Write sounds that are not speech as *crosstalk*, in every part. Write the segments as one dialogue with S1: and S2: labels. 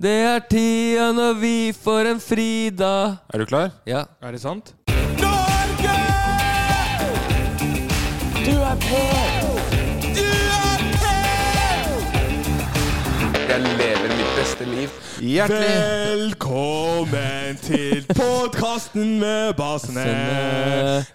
S1: Det er tida når vi får en frida.
S2: Er du klar?
S1: Ja.
S2: Er det sant?
S3: Jeg lever mitt beste liv.
S2: Hjertelig Velkommen til podkasten med basene.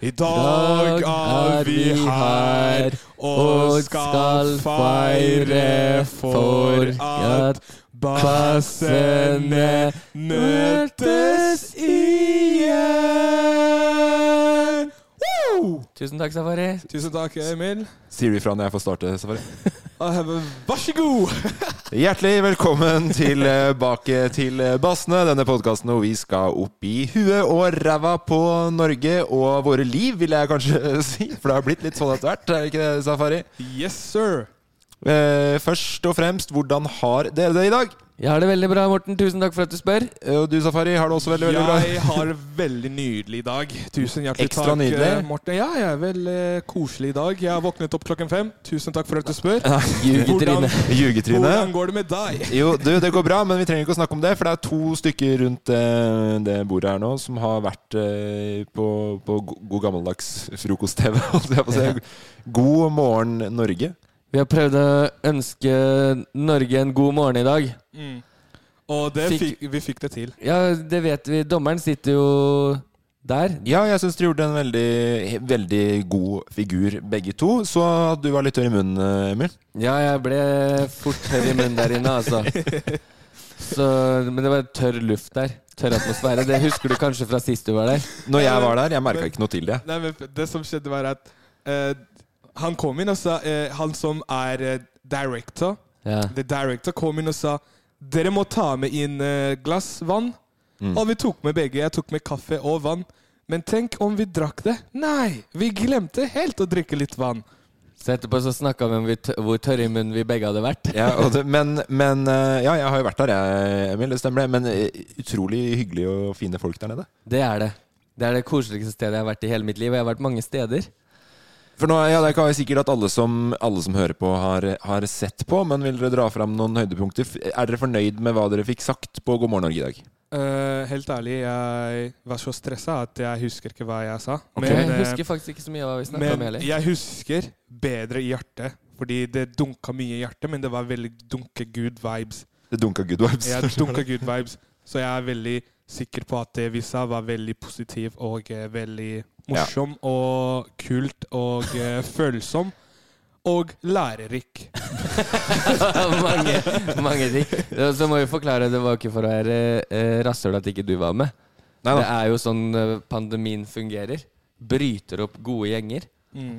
S2: I dag er vi her og skal feire for at basene møtes igjen. Woo!
S1: Tusen takk, Safari.
S2: Tusen takk, Emil.
S3: Sier du ifra når jeg får starte, Safari?
S2: Vær så god! *laughs*
S3: Hjertelig velkommen tilbake til eh, Bassene, denne podkasten hvor vi skal opp i huet og ræva på Norge og våre liv, vil jeg kanskje *laughs* si. For det har blitt litt sånn etter hvert, er det ikke det, Safari?
S2: Yes, sir.
S3: Eh, først og fremst, hvordan har dere det i dag?
S1: Jeg har det veldig bra, Morten. Tusen takk for at du spør.
S3: Eh, Og du, Safari, har det også veldig, veldig
S2: Jeg
S3: bra?
S2: har veldig nydelig dag. Tusen hjertelig
S3: Ekstra
S2: takk,
S3: nydelig?
S2: eh, Morten. Ja, jeg er vel eh, koselig i dag. Jeg har våknet opp klokken fem. Tusen takk for at du spør.
S1: Jugetryne.
S3: Ljugetryne.
S2: Hvordan går det med deg?
S3: Jo, du, det går bra, men vi trenger ikke å snakke om det. For det er to stykker rundt eh, det bordet her nå som har vært eh, på, på go- god gammeldags frokost-TV. *laughs* holdt jeg på å si. God morgen, Norge.
S1: Vi har prøvd å ønske Norge en god morgen i dag.
S2: Og det fikk,
S1: Fikk-
S2: vi fikk det til.
S1: Ja, det vet vi. Dommeren sitter jo der.
S3: Ja, jeg syns dere gjorde en veldig, veldig god figur, begge to. Så at du var litt tørr i munnen, eh, Emil.
S1: Ja, jeg ble fort tørr i munnen der inne, altså. Så, men det var tørr luft der. Tørr atmosfære. Det husker du kanskje fra sist du var der.
S3: Når jeg var der, jeg merka ikke noe til det.
S2: Nei, men det som skjedde, var at eh, han kom inn og sa eh, Han som er eh, director,
S1: Ja.
S2: the director kom inn og sa dere må ta med inn eh, glass vann. Og vi tok med begge. Jeg tok med kaffe og vann. Men tenk om vi drakk det? Nei, vi glemte helt å drikke litt vann.
S1: Så etterpå så snakka vi om vi t hvor tørre i munnen vi begge hadde vært.
S3: Ja, og det, men, men eh, Ja, jeg har jo vært der, jeg, Emil. Det stemmer, det. Men eh, utrolig hyggelig og fine folk der nede.
S1: Det er det. Det er det koseligste stedet jeg har vært i hele mitt liv. Og jeg har vært mange steder.
S3: For nå, ja, Det er ikke sikkert at alle som, alle som hører på, har, har sett på, men vil dere dra fram noen høydepunkter? F- Er dere fornøyd med hva dere fikk sagt på God morgen Norge i dag?
S2: Eh, helt ærlig, jeg var så stressa at jeg husker ikke hva jeg sa.
S1: jeg
S2: eh,
S1: husker faktisk ikke så mye av hva vi snakka om
S2: men
S1: heller.
S2: jeg husker bedre i hjertet. Fordi det dunka mye i hjertet, men det var veldig dunke Gud-vibes.
S3: Det dunka good vibes. *laughs*
S2: Jeg dunka Gud-vibes, Så jeg er veldig sikker på at det vi sa, var veldig positiv og eh, veldig morsom og kult og eh, følsom. Og lærerik.
S1: mange, *laughs* mange ting. Og Så må vi forklare, det var ikke for å være eh, rasshøl at ikke du var med.
S3: Nei
S1: Det
S3: da,
S1: er jo sånn eh, pandemien fungerer. Bryter opp gode gjenger.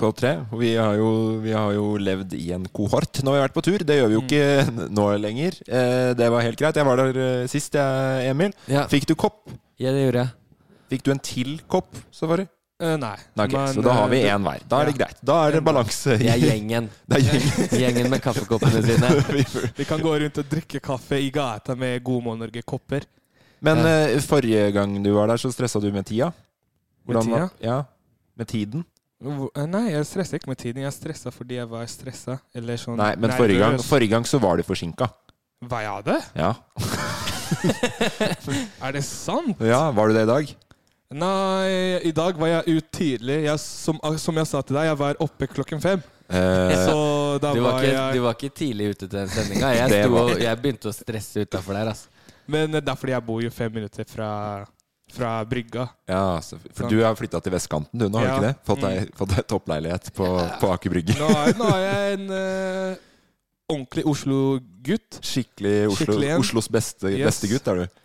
S3: på tre. Vi har, jo, vi har jo levd i en kohort når vi har vært på tur. Det gjør vi jo ikke *laughs* nå lenger. Eh, det var helt greit. Jeg var der eh, sist, jeg, Emil.
S1: Ja.
S3: Fikk du kopp?
S1: Ja, det gjorde jeg.
S3: Fikk du en til kopp, Safari?
S2: Eh, nei.
S3: Nei, *laughs* ok,
S2: Men,
S3: så da har vi
S2: eh,
S3: én hver. Da er det greit. Da er det balanse. i-
S1: Det er gjengen.
S3: *laughs* Det er gjengen.
S1: *laughs* Gjengen med kaffekoppene sine.
S2: *laughs*
S3: *laughs*
S2: Vi kan gå rundt og drikke kaffe i gata med God morgen Norge-kopper.
S3: Men eh, forrige gang du var der, så stressa du med tida. var-
S2: tida?
S3: Ja, med tiden.
S2: Hvor- eh, Nei, jeg stressa ikke med tiden. Jeg stressa fordi jeg var stressa. Eller sånn
S3: Nei, men forrige gang,
S2: nervøs.
S3: forrige gang så var du forsinka.
S2: Var jeg det? *laughs*
S3: Ja.
S2: Er det sant?
S3: ja, var du det i dag?
S2: Nei, i dag var jeg ute tidlig. Jeg, som, ah, som jeg sa til deg, jeg var oppe klokken fem.
S3: Eh,
S2: Så da
S1: Du var,
S2: var
S1: ikke,
S2: jeg
S1: du var ikke tidlig ute til den sendinga. Jeg,
S3: Det
S1: sto
S3: var-
S1: og- jeg begynte å stresse utafor der. Altså.
S2: Men eh, det er fordi jeg bor jo fem minutter fra, fra brygga.
S3: ja, så, for du har flytta til vestkanten du nå, har du ikke
S2: Sånn. Ja. Mm.
S3: det? Fått deg, fått deg toppleilighet på, på Aker Brygge.
S2: Nå er, nå er jeg en eh, ordentlig Oslo-gutt.
S3: Skikkelig, Oslo,
S2: Skikkelig en.
S3: Oslos beste,
S2: Yes.
S3: beste gutt er du.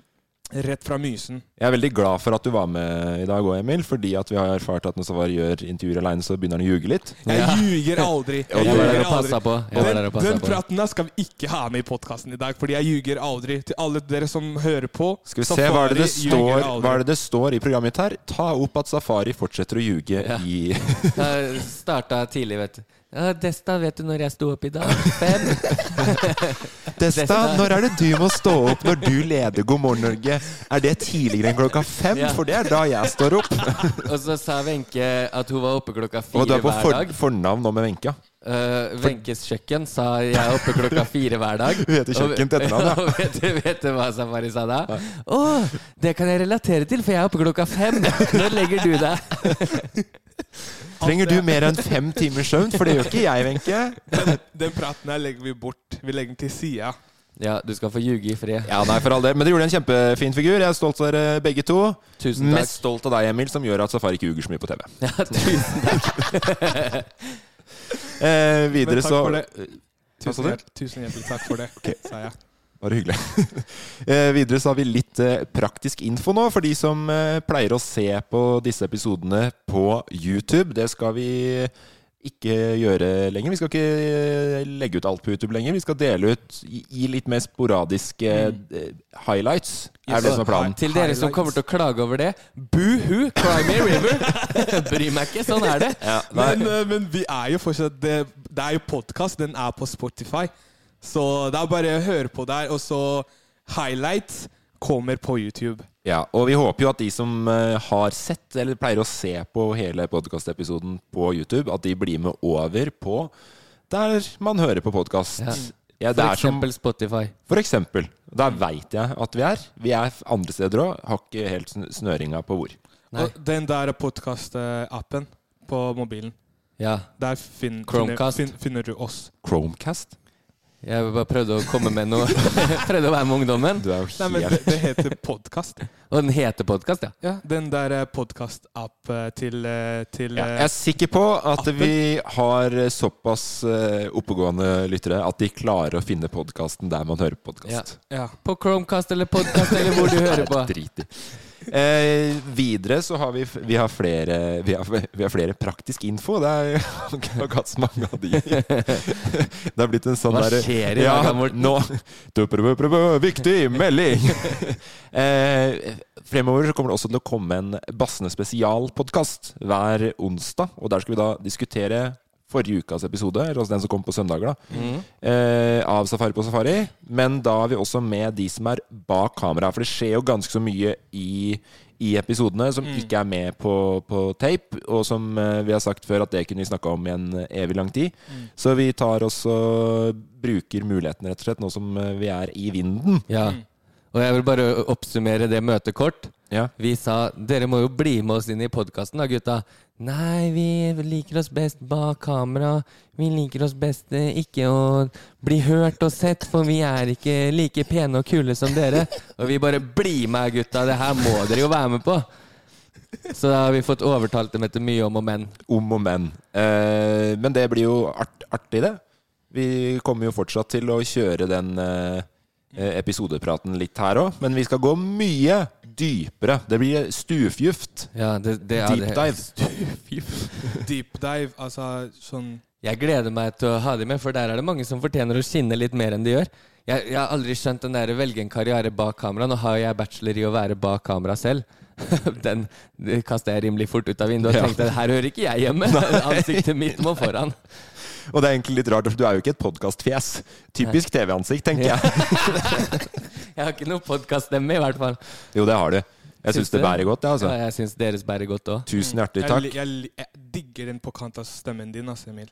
S2: Rett fra Mysen.
S3: Jeg er veldig glad for at du var med i dag òg, Emil. Fordi at vi har erfart at når Savar gjør intervjuer aleine, så begynner han å ljuge litt.
S2: Jeg ljuger
S1: *laughs*
S2: aldri.
S3: Ja,
S2: Jeg
S3: du
S1: Jeg var der
S2: ljuger
S1: og passa
S2: aldri.
S1: på. Jeg var
S2: Den,
S1: der og
S2: den
S1: passet på.
S2: praten der skal vi ikke ha med i podkasten i dag, fordi jeg ljuger aldri. Til alle dere som hører på
S3: Skal vi se, hva er, det det
S2: Safari ljuger
S3: står,
S2: aldri.
S3: hva er det det står i programmet mitt her? Ta opp at Safari fortsetter å ljuge
S2: *laughs*
S3: i
S1: Jeg starta tidlig, vet du. Ja, Desta, vet du når jeg sto opp i dag? Fem?
S3: Desta, når er det du må stå opp når du leder God morgen Norge? Er det tidligere enn klokka fem?
S1: Ja.
S3: For det er da jeg står opp.
S2: *laughs*
S1: Og så sa Wenche at hun var oppe klokka
S3: Og du
S1: fire
S3: er på
S1: hver
S3: for,
S1: dag.
S3: fornavn nå med Wenche.
S1: Eh, Wenches kjøkken sa jeg er oppe klokka fire hver dag.
S3: Hun heter kjøkken til etternavn, ja.
S1: Og, *laughs* og vet, du- vet du hva Safari sa da? Å, det kan jeg relatere til, for jeg er oppe klokka fem. Når legger du deg?
S3: Trenger du mer enn fem timers søvn? For det gjør ikke jeg, Wenche.
S2: *laughs* Den praten her legger vi bort. Vi legger den til sida.
S1: Ja, du skal få ljuge i fred.
S3: Ja, nei, for all del. Men dere gjorde en kjempefin figur. Jeg er stolt av dere begge to.
S1: Tusen takk.
S3: Mest stolt av deg, Emil, som gjør at Safari ikke ljuger så mye på TV.
S1: Ja, tusen takk.
S3: Eh,
S2: Men
S3: videre
S2: takk
S3: så
S2: for det.
S3: Hva sa
S2: Tusen,
S3: du?
S2: hjert- tusen hjertelig takk for det, sa
S3: *laughs*
S2: jeg.
S3: Bare hyggelig. *laughs* eh, videre så har vi litt eh, praktisk info nå for de som eh, pleier å se på disse episodene på YouTube. Det skal vi ikke gjøre lenger. Vi skal ikke eh, legge ut alt på YouTube lenger. Vi skal dele ut i, i litt mer sporadiske eh, highlights, er det som er planen.
S1: Til dere som kommer til å klage over det, boo-hoo, cry me a river. *laughs* Bry meg ikke, sånn er det.
S2: Men, eh, men vi er jo fortsatt Det, det er jo podkast. Den er på Spotify. Så det er bare å høre på der. Og så highlights kommer på YouTube.
S3: Ja, og vi håper jo at de som eh, har sett, eller pleier å se på hele podkastepisoden på YouTube, at de blir med over på der man hører på podkast. Ja. det
S1: eh, For
S3: er som,
S1: eksempel Spotify.
S3: for eksempel. Der veit jeg at vi er. Vi er andre steder òg. Har ikke helt sn- snøringa på hvor.
S1: Nei.
S2: Og den der podkast-appen på mobilen,
S1: Ja.
S2: der fin, finner,
S1: Chromecast.
S2: fin, finner du oss.
S3: Chromecast?
S1: Jeg bare prøvde å komme med noe. *laughs* prøvde å være med ungdommen.
S3: Du er jo
S2: Nei, men
S3: helt
S2: det, det heter podkast.
S1: Og den heter podkast, *laughs* ja.
S2: Ja, den der podkast-app eh, til, eh, til
S3: ja, jeg
S2: eh,
S3: er sikker på at vi har såpass eh, oppegående lyttere at de klarer å finne podkasten der man hører på
S1: Ja.
S3: podkast.
S2: ja.
S1: På Chromecast eller podkast *laughs* eller hvor du hører på.
S3: Det er drit i. Eh, videre så har vi, f- vi, har flere, vi, har, *laughs* vi har flere praktisk info. Det er *laughs* jo har ikke hatt så mange av de. *laughs* Det er blitt en sånn
S1: Hva
S3: der-
S1: skjer i dag, Morten?
S3: Nå, *laughs* du, prøv, prøv, prøv, viktig melding! *laughs* Eh, fremover så kommer det også til å komme en Bassene spesialpodkast hver onsdag. Og der skal vi da diskutere forrige ukas episode, eller altså den som kom på søndager, da,
S1: Mm.
S3: eh, av Safari på Safari. Men da er vi også med de som er bak kamera. For det skjer jo ganske så mye i, i episodene som ikke er med på, på tape, og som eh, vi har sagt før at det kunne vi snakke om i en eh, evig lang tid. Så vi tar oss og bruker muligheten, rett og slett, nå som eh, vi er i vinden.
S1: Ja. Og jeg vil bare oppsummere det møtet kort.
S3: Ja.
S1: Vi sa dere må jo bli med oss inn i podkasten da, gutta. Nei, vi liker oss best bak kamera. Vi liker oss best eh, ikke å bli hørt og sett, for vi er ikke like pene og kule som dere. Og vi bare bli med, gutta. Det her må dere jo være med på. Så da har vi fått overtalt dem etter mye om og men.
S3: om og men. Eh, men det blir jo art, artig, det. Vi kommer jo fortsatt til å kjøre den eh, eh, episodepraten litt her òg, men vi skal gå mye dypere. Det blir stuvgift.
S1: Ja, det, det, ja,
S3: Deep
S1: det-
S3: dive.
S2: Deep dive, altså sånn
S1: Jeg gleder meg til å ha dem med, for der er det mange som fortjener å skinne litt mer enn de gjør. Jeg, jeg har aldri skjønt den der velge en karriere bak kamera. Nå har jeg bachelor i å være bak kamera selv. *laughs* Den kasta jeg rimelig fort ut av vinduet og
S3: Ja.
S1: tenkte her hører ikke jeg
S3: *laughs*
S1: hjemme. *laughs* Ansiktet mitt må foran.
S3: Og det er egentlig litt rart, for du er jo ikke et podkastfjes. Typisk TV-ansikt, tenker
S1: Ja.
S3: jeg. *laughs*
S1: Jeg har ikke noe podkaststemme, i hvert fall.
S3: Jo, det har du. Jeg
S1: Syns
S3: syns det
S1: du?
S3: bærer godt, jeg,
S1: Så
S3: altså.
S1: jeg syns deres bærer godt òg.
S3: Tusen hjertelig
S2: Jeg,
S3: takk.
S2: li- jeg, li- jeg digger den på kant av stemmen din, ass,
S1: *laughs*
S2: Emil.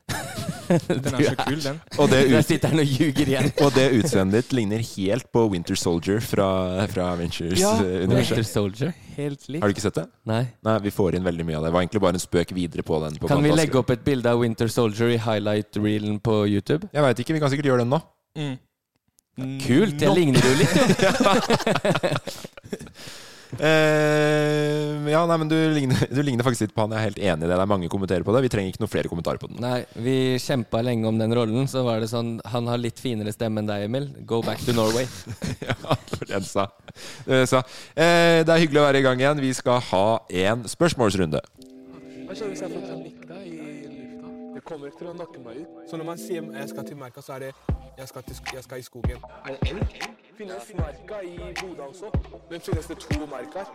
S2: Den er så kul, den.
S3: Og det,
S1: Jeg
S3: ut,
S1: sitter her og
S3: *laughs*
S1: ljuger igjen.
S3: og det utseendet ditt ligner helt på Winter Soldier fra, fra Ventures
S2: Ja.
S3: eh, universet.
S1: Winter Soldier. Helt likt.
S3: Har du ikke sett det?
S1: Nei.
S3: Nei, vi får inn veldig mye av det. Det var egentlig bare en spøk videre på den. På
S1: Kan vi
S3: Fantastisk.
S1: legge opp et bilde av Winter Soldier i highlight-reelen på YouTube?
S3: Jeg veit ikke, vi kan sikkert gjøre
S1: *laughs*
S3: den nå.
S2: Mm.
S1: Kult! Jeg ligner jo litt, jo.
S3: Eh, ja, nei, men du ligner, du ligner faktisk litt på han. Jeg er helt enig i det. Det er mange kommentarer på det. Vi trenger ikke noen flere kommentarer på den.
S1: Nei, vi kjempa lenge om den rollen. Så var det sånn Han har litt finere stemme enn deg, Emil. Go back to Norway.
S3: *laughs* Ja, for den sa. Det, sa. Eh, det er hyggelig å være i gang igjen. Vi skal ha en spørsmålsrunde.
S4: Hva skjer hvis jeg får panikk da i lufta? Det kommer ikke til å nakke meg ut. Så når man sier jeg skal til merka, så er det jeg skal, til, sk- jeg skal i skogen. Er det elg? Finnes merka i Bodø også? Men finnes det to merker?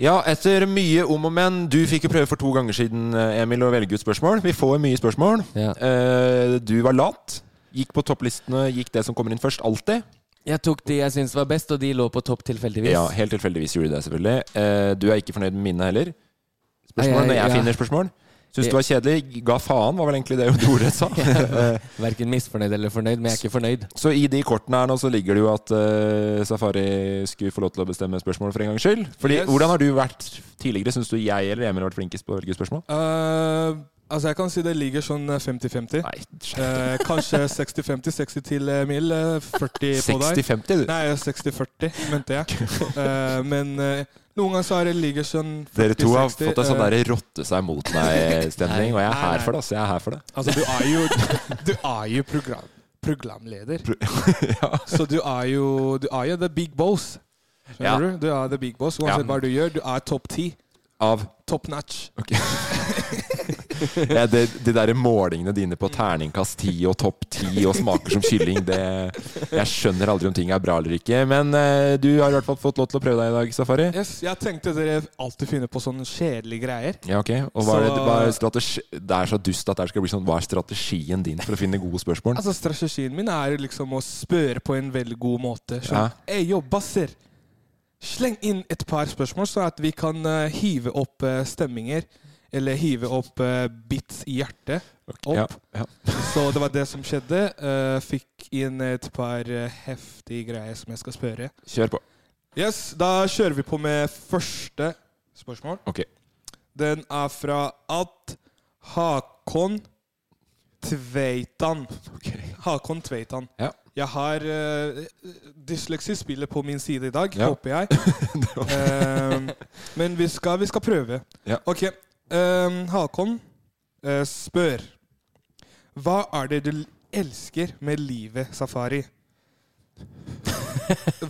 S3: Ja, etter mye om og men. Du fikk jo prøve for to ganger siden, eh, Emil, å velge ut spørsmål. Vi får mye spørsmål.
S1: Ja.
S3: Eh, du var lat. Gikk på topplistene, gikk det som kommer inn først. Alltid.
S1: Jeg tok de jeg syntes var best, og de lå på topp tilfeldigvis.
S3: Ja, helt tilfeldigvis gjorde du det, selvfølgelig. Eh, du er ikke fornøyd med mine heller.
S1: Nei,
S3: Spørsmål
S1: jeg-
S3: når jeg
S1: ja.
S3: finner spørsmål. Syns du var kjedelig? Ga faen, var vel egentlig det du ordrett
S1: *laughs*
S3: sa. *laughs* Eh,
S1: Verken misfornøyd eller fornøyd, men jeg er ikke fornøyd.
S3: så i de kortene her nå så ligger det jo at eh, Safari skulle få lov til å bestemme spørsmål for en gangs skyld. Fordi,
S2: Yes.
S3: Hvordan har du vært tidligere? Syns du jeg eller Emil har vært flinkest på å velge spørsmål?
S2: Eh, altså, jeg kan si det ligger sånn eh, 50-50.
S3: Nei,
S2: Eh,
S3: *laughs*
S2: kanskje 60-50, 60 til Emil, eh, 40 på deg.
S3: 60-50, du.
S2: Nei, 60-40, mente
S3: *laughs*
S2: jeg. Eh, men eh, noen ganger så er det ligger sånn 40-60.
S3: Dere to har fått en sånn
S2: eh,
S3: derre rotte seg mot *laughs* meg-stemning, og jeg er
S2: Nei, nei.
S3: her for det. Altså, jeg er her for det.
S2: Altså, du er jo, *laughs* du er jo program, programleder.
S3: *laughs*
S2: Så du er jo, du er jo the big boss. Skjønner
S3: Ja.
S2: du? Du er the big boss. Uansett
S3: Ja.
S2: hva du gjør, du er topp ti.
S3: Av
S2: Top notch.
S3: ja, det, De der målingene dine på terningkast 10 og topp 10 og smaker som kylling det, Jeg skjønner aldri om ting er bra eller ikke. Men eh, du har i hvert fall fått lov til å prøve deg i dag, Safari.
S2: Yes, jeg tenkte dere alltid finner på sånne kjedelige greier.
S3: Ja, ok. Og hva er det,
S2: Så-
S3: hva er strategi, det er så dust at det skal bli sånn Hva er strategien din for å finne gode spørsmål?
S2: Altså Strategien min er liksom å spørre på en veldig god måte.
S3: Ja.
S2: Sånn, «Ei, jo, basser! Sleng inn et par spørsmål, så at vi kan eh, hive opp eh, stemminger. Eller hive opp eh, bits i hjertet. Opp.
S3: Ja, ja.
S2: Så det var det som skjedde. Eh, fikk inn et par eh, heftige greier som jeg skal spørre.
S3: Kjør på.
S2: Yes, Da kjører vi på med første spørsmål.
S3: Ok.
S2: Den er fra at Hakon Tveitan. Hakon Tveitan.
S3: Ja.
S2: Jeg har eh, dysleksi spiller på min side i dag,
S3: Ja. *laughs*
S2: håper jeg. Ehm, men vi skal, vi skal prøve.
S3: Ja.
S2: Ok. ehm, Hakon eh, spør Hva er det du elsker med livet, Safari?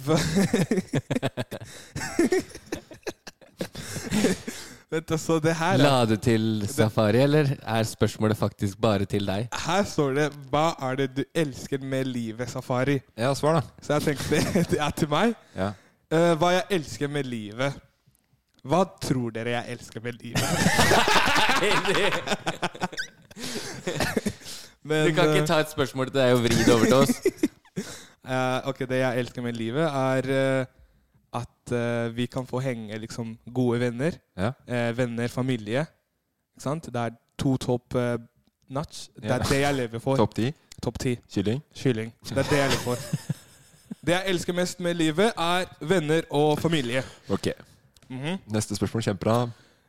S2: Hva *laughs* Vent, altså, det her er
S1: La det til Safari, eller er spørsmålet faktisk bare til deg?
S2: Her står det 'Hva er det du elsker med livet, Safari?'
S3: Ja, svar, da.
S2: Så jeg tenkte *laughs* det er til meg.
S3: Ja.
S2: Eh, hva jeg elsker med livet. Hva tror dere jeg elsker med livet?
S1: *laughs*
S2: Men,
S1: Du kan
S2: eh,
S1: ikke ta et spørsmål til deg og vri det over til oss.
S2: eh, ok, det jeg elsker med livet, er eh, at eh, vi kan få henge liksom, gode venner.
S3: Ja.
S2: Eh, venner, familie. Ikke sant? Det er to topp eh, notch. Det
S3: Ja.
S2: er det jeg lever for.
S3: Topp 10
S2: Topp ti.
S3: Kylling.
S2: Kylling. Det er det jeg lever
S1: *laughs*
S2: for. Det jeg elsker mest med livet, er venner og familie.
S3: Ok.
S2: Mhm.
S3: Neste spørsmål. Kjempebra.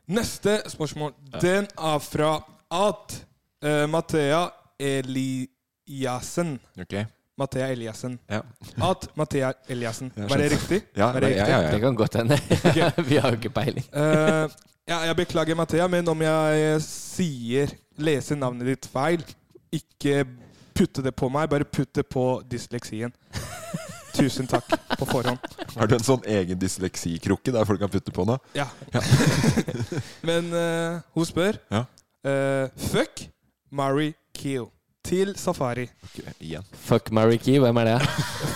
S2: Neste spørsmål, den er fra at eh, Mathea Eliassen.
S3: Ok.
S2: Mathea Eliassen.
S3: Ja.
S2: At Mathea Eliassen.
S3: Jeg
S2: Var det riktig?
S3: Ja,
S2: Var det
S3: ja,
S2: riktig?
S3: ja,
S1: Det kan godt hende. *laughs* Vi har jo ikke peiling.
S2: Eh, ja, jeg beklager, Mathea, men om jeg eh, sier leser navnet ditt feil, ikke putte det på meg, bare putte på dysleksien. Tusen takk på forhånd.
S3: Har du en sånn egen dysleksikrukke der folk kan putte på noe?
S2: Ja. *laughs* Men eh, hun spør
S3: Ja.
S2: eh, Fuck, marry, kill til Safari.
S3: Ok, igjen.
S1: Fuck Mary Key, hvem er det?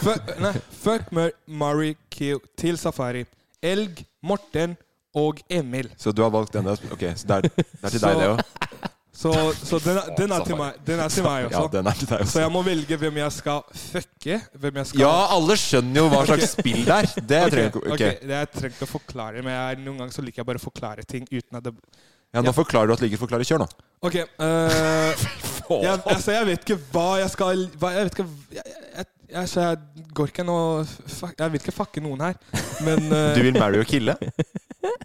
S2: Fuck, nei, fuck mar marry, kill til Safari. Elg, Morten og Emil.
S3: Så du har valgt denne? Ok, så det er, det er til deg, det òg?
S2: Så, så den, er- den, er til meg, den er til meg
S3: *laughs* Ja,
S2: også.
S3: den er til deg
S2: Så
S3: også.
S2: jeg må velge hvem jeg skal fucke. Hvem jeg skal
S3: Ja, alle skjønner jo hva slags spill det er. Det
S2: Ok,
S3: trenger ikke
S2: ok,
S3: ok.
S2: det Jeg trenger ikke å forklare, men jeg, noen ganger så liker jeg bare å forklare ting uten at det
S3: Ja, nå forklarer du at du ikke forklarer. Kjør, nå.
S2: Ok. eh,
S3: *laughs*
S2: jeg, altså, jeg vet ikke hva jeg skal hva, Jeg vet ikke jeg, jeg, jeg, så jeg går ikke an å fuck- Jeg vil ikke fucke noen her.
S3: *laughs*
S2: Men eh,
S3: Du vil marry og kille?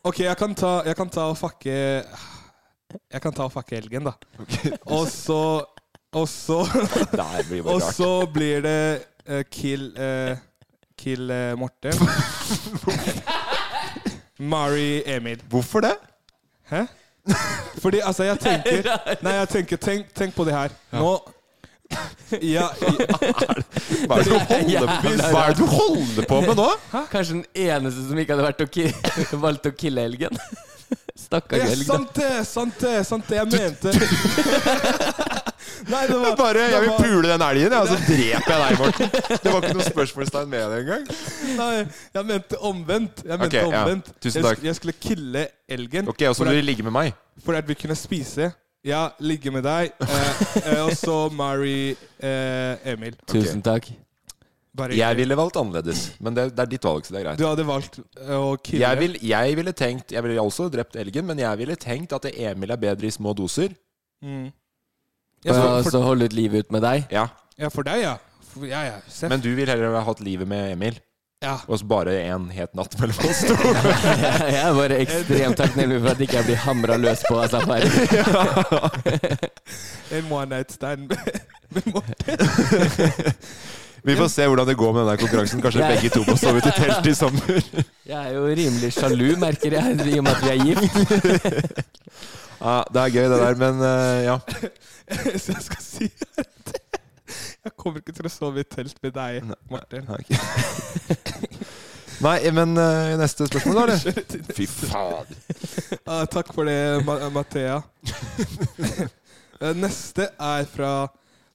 S2: ok, jeg kan ta, jeg kan ta og fucke Jeg kan ta og fucke elgen, da.
S3: *laughs*
S2: Og så Og så
S3: *laughs* Nei, det blir
S2: Og
S3: bare rart.
S2: så blir det eh, kill eh, Kill eh,
S3: *laughs*
S2: Morten. Mari Emil.
S3: Hvorfor det?
S2: Hæ? Fordi altså, jeg tenker Nei, jeg tenker Tenk, tenk på det her. Nå
S3: *laughs*
S2: ja, i-
S3: Hva *laughs* er det du holder på med, hva er det du holder på *laughs* med nå?
S1: Kanskje den eneste som ikke hadde vært å ki *laughs* valgt å kille elgen.
S2: det
S1: Stakkars
S2: er
S1: elg, da.
S2: sant, det! Sant, det! Sant, det! Jeg mente *laughs* Nei, det var
S3: Bare,
S2: det
S3: Jeg vil
S2: var-
S3: pule den elgen, jeg, *laughs* og så dreper jeg deg, Morten. Det var ikke noe spørsmålstegn med det engang.
S2: Nei, jeg mente omvendt. Jeg mente
S3: Ok, ja.
S2: omvendt.
S3: Tusen
S2: Jeg
S3: takk.
S2: sk- Jeg, skulle kille elgen
S3: Ok, og så
S2: for,
S3: vil
S2: at,
S3: du ligge med meg.
S2: for at vi kunne spise. Ja, ligge med deg.
S3: *laughs*
S2: Eh, eh, og så marry eh, Emil.
S1: Tusen takk.
S2: Bare
S3: Jeg ville valgt annerledes, men det, det er ditt valg, så det er greit.
S2: Du hadde valgt eh, å kille
S3: Jeg, vil, jeg ville tenkt Jeg ville også drept elgen, men jeg ville tenkt at Emil er bedre i små doser.
S2: mm. ja,
S1: Og
S2: for, for,
S1: så
S3: altså-
S1: holde ut livet ut med deg. *laughs*
S3: Ja,
S2: ja, for deg, ja. For, ja, ja. Seff.
S3: Men du vil heller ha hatt livet med Emil, *laughs*
S2: ja. *laughs*
S3: og så bare en het natt mellom oss *laughs* to.
S1: Jeg er bare ekstremt takknemlig for at ikke jeg blir hamra løs på av safari.
S2: En one night stand *laughs* med Morten.
S3: Vi får se hvordan det går med denne konkurransen. Kanskje
S1: Jeg-
S3: begge to må sove ut i telt i sommer.
S1: Jeg er jo rimelig sjalu, merker jeg, i og med at vi er gift.
S3: Ja, det er gøy, det der, men eh, ja.
S2: *laughs* Så jeg skal si her at jeg kommer ikke til å sove i telt med deg, Morten.
S3: Nei, men eh, neste spørsmål, da, eller?
S2: Kjør til det.
S3: Fy faen.
S2: Ah, takk for det, Ma Mathea.
S3: *laughs*
S2: Eh, Neste er fra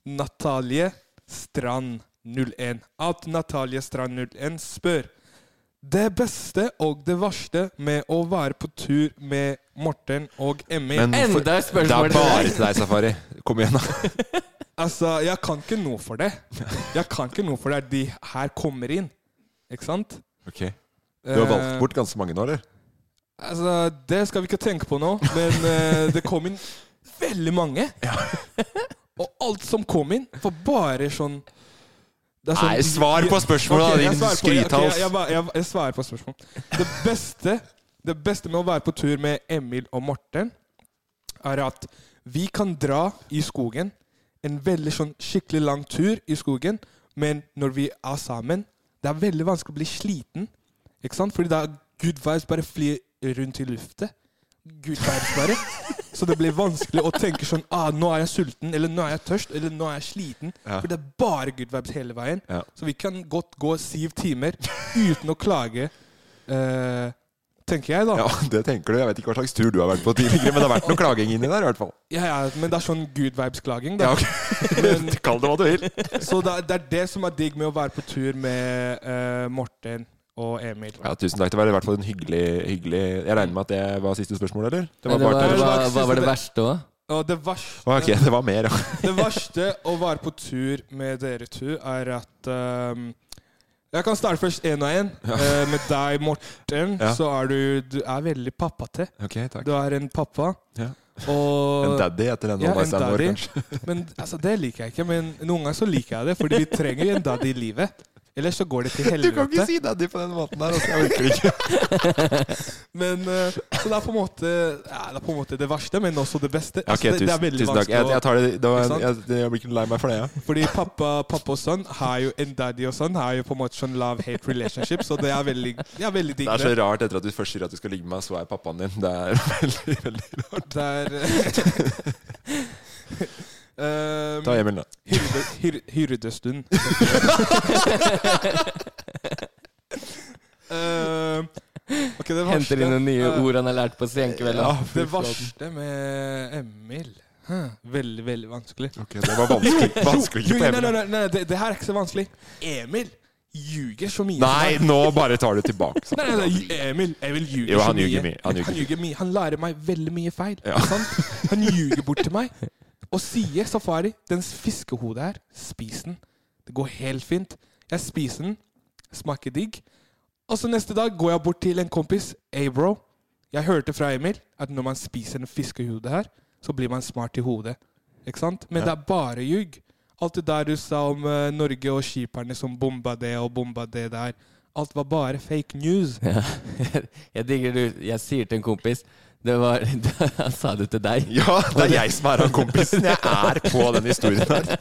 S2: Natalie Strand 01. At Natalie Strand 01 spør Det beste og det verste med å være på tur med Morten og Emil
S3: Men for-
S1: Enda et
S3: Det
S1: spørsmål
S3: er bare
S1: til deg.
S3: til deg, Safari. Kom igjen, da.
S2: Altså, jeg kan ikke noe for det. Jeg kan ikke noe for det. De her kommer inn. Ikke sant? Eh,
S3: Ok, Du har valgt bort ganske mange nå, eller?
S2: Altså, det skal vi ikke tenke på nå, men eh, det kom inn veldig
S3: *laughs*
S2: mange. Og alt som kom inn, var bare sånn det er sånn-
S3: Nei, svar på spørsmålet,
S2: Ok,
S3: da,
S2: jeg
S3: din
S2: svarer på- jeg- ok,
S3: skrythals.
S2: Jeg, jeg, ba- jeg, jeg svarer på spørsmål. Det beste, det beste med å være på tur med Emil og Morten, er at vi kan dra i skogen. En veldig sånn skikkelig lang tur i skogen. Men når vi er sammen, det er veldig vanskelig å bli sliten. Ikke sant? Fordi da good vibes bare flyr rundt i luftet. Good vibes
S3: *laughs*
S2: bare. Så det blir vanskelig å tenke sånn ah, Nå er jeg sulten, eller nå er jeg tørst, eller nå er jeg sliten.
S3: Ja.
S2: For det er bare good vibes hele veien.
S3: Ja.
S2: Så vi kan godt gå syv timer uten å klage, eh, tenker jeg, da.
S3: Ja, det tenker du. Jeg vet ikke hva slags tur du har vært på tidligere, men det har vært noe klaging inni der i hvert fall.
S2: Ja, ja, men det er sånn good vibes-klaging.
S3: Ja,
S2: da.
S3: ok.
S2: Men-
S3: *laughs* Kall det hva du vil.
S2: Så det, er- det er det som er digg med å være på tur med eh, Morten og Emil.
S3: Ja, tusen takk. Det var i hvert fall en hyggelig, hyggelig Jeg regner med at det var siste spørsmål, eller? Det var
S1: Men det
S3: bare
S1: var,
S3: til
S1: hva,
S2: til-
S1: hva var det verste òg?
S2: Og det verste,
S3: Å, Ok, det var mer, ja.
S2: det verste å være på tur med dere to er at ehm, Jeg kan starte først én og én. Eh, med deg, Morten,
S3: Ja.
S2: så er du Du er veldig pappate.
S3: Ok, takk.
S2: Du er en pappa.
S3: Ja.
S2: Og
S3: En daddy etter den
S2: Ja,
S3: One
S2: en
S3: Night Stand vår,
S2: daddy.
S3: kanskje.
S2: Men altså, det liker jeg ikke. Men noen ganger så liker jeg det, fordi vi trenger en daddy i livet. Ellers så går det til
S3: Du kan ikke
S2: helvete.
S3: si daddy på den måten der. Altså. Jeg orker ikke.
S2: Men eh, Så det er på en måte ja, Det er på en måte det verste, men også det beste.
S3: Ok,
S2: Altså, det, det er
S3: tusen,
S2: veldig
S3: tusen takk.
S2: vanskelig
S3: Jeg,
S2: å-
S3: jeg tar det, det var
S2: Ikke
S3: en, jeg, jeg blir ikke lei meg for det, ja.
S2: Fordi pappa, pappa og sønn har jo en daddy og sønn har jo på en måte sånn love-hate relationship, så det er veldig, det er veldig digg.
S3: Det er så rart etter at du først sier at du skal ligge med meg, så er pappaen din. Det er *laughs* veldig, veldig
S2: Det er, *laughs* eh,
S3: Ta Emil, da.
S2: hyrde, hyr,
S3: *laughs*
S2: hyrdestund. Eh, ok, det verste
S1: Henter inn noen nye
S2: eh,
S1: ord han har lært på senkveld.
S3: Ja,
S2: Det verste med Emil Huh, Veldig, veldig vanskelig.
S3: Ok, det var vanskelig, vanskelig
S2: Jo,
S3: på
S2: nei, nei,
S3: Emil.
S2: nei, nei, det, det her er ikke så vanskelig. Emil! ljuger så mye.
S3: Nei,
S2: som han-
S3: nå bare tar du tilbake. sant?
S2: Nei, nei, nei, Emil, Emil ljuger
S3: Jo,
S2: så
S3: han
S2: mye.
S3: ljuger mye, han ljuger mye.
S2: mye. Han lærer meg veldig mye feil.
S3: Ja.
S2: ikke
S3: *laughs*
S2: Sant? Han ljuger bort til meg og sier safari, den fiskehodet her, spis den. Det går helt fint. Jeg spiser den, smaker digg. Og så neste dag går jeg bort til en kompis. Hey bro, jeg hørte fra Emil at når man spiser den fiskehodet her, så blir man smart i hodet. Ikke sant? Men det er bare ljug. Alt det der du sa om eh, Norge og skiperne som bomba det og bomba det der. Alt var bare fake news.
S1: Ja. *laughs* Jeg digger du Jeg sier til en kompis Det var *laughs* Han sa det til deg.
S3: Ja, det er jeg som er han kompisen. Jeg er på den historien her.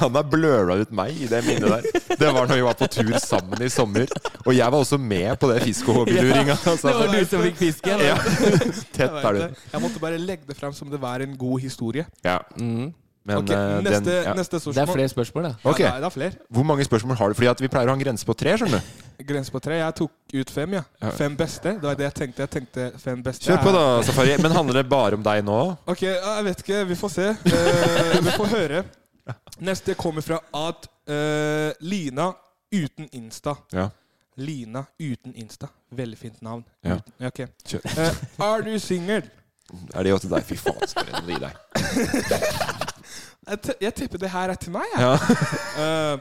S3: Han har bløla ut meg i det minnet der. Det var når vi var på tur sammen i sommer. Og jeg var også med på det fiskehårbilluringa.
S1: Det var du som fikk fisken!
S3: Ja.
S2: Jeg,
S3: Tett er
S2: vet
S3: du.
S2: det. jeg måtte bare legge det frem som det var en god historie.
S3: Ja. Men
S2: Ok,
S3: eh, den-
S2: neste,
S3: ja.
S2: neste
S1: Det er
S2: spørsmål.
S1: flere spørsmål, da.
S3: Ok.
S2: Ja, det er- det er flere.
S3: Hvor mange spørsmål har du? Fordi at vi pleier å ha en grense på tre, skjønner du.
S2: Grense på tre. Jeg tok ut fem, ja.
S3: Ja.
S2: Fem beste. Det var det jeg tenkte. Jeg tenkte fem beste.
S3: Kjør på,
S2: er-
S3: da, Safari. Men handler det bare om deg nå?
S2: Ok, ja, jeg vet ikke. Vi får se.
S3: *laughs*
S2: Eh, vi får høre. Neste kommer fra at eh, Lina uten Insta.
S3: Ja.
S2: Lina uten Insta. Veldig fint navn.
S3: Ja.
S2: Uten- Ok.
S3: Kjør.
S2: Eh, er du singel?
S3: Er det jo til deg? Fy faen, spør jeg om det i deg.
S2: Jeg, te- jeg tipper det her er til meg, jeg.
S3: Ja.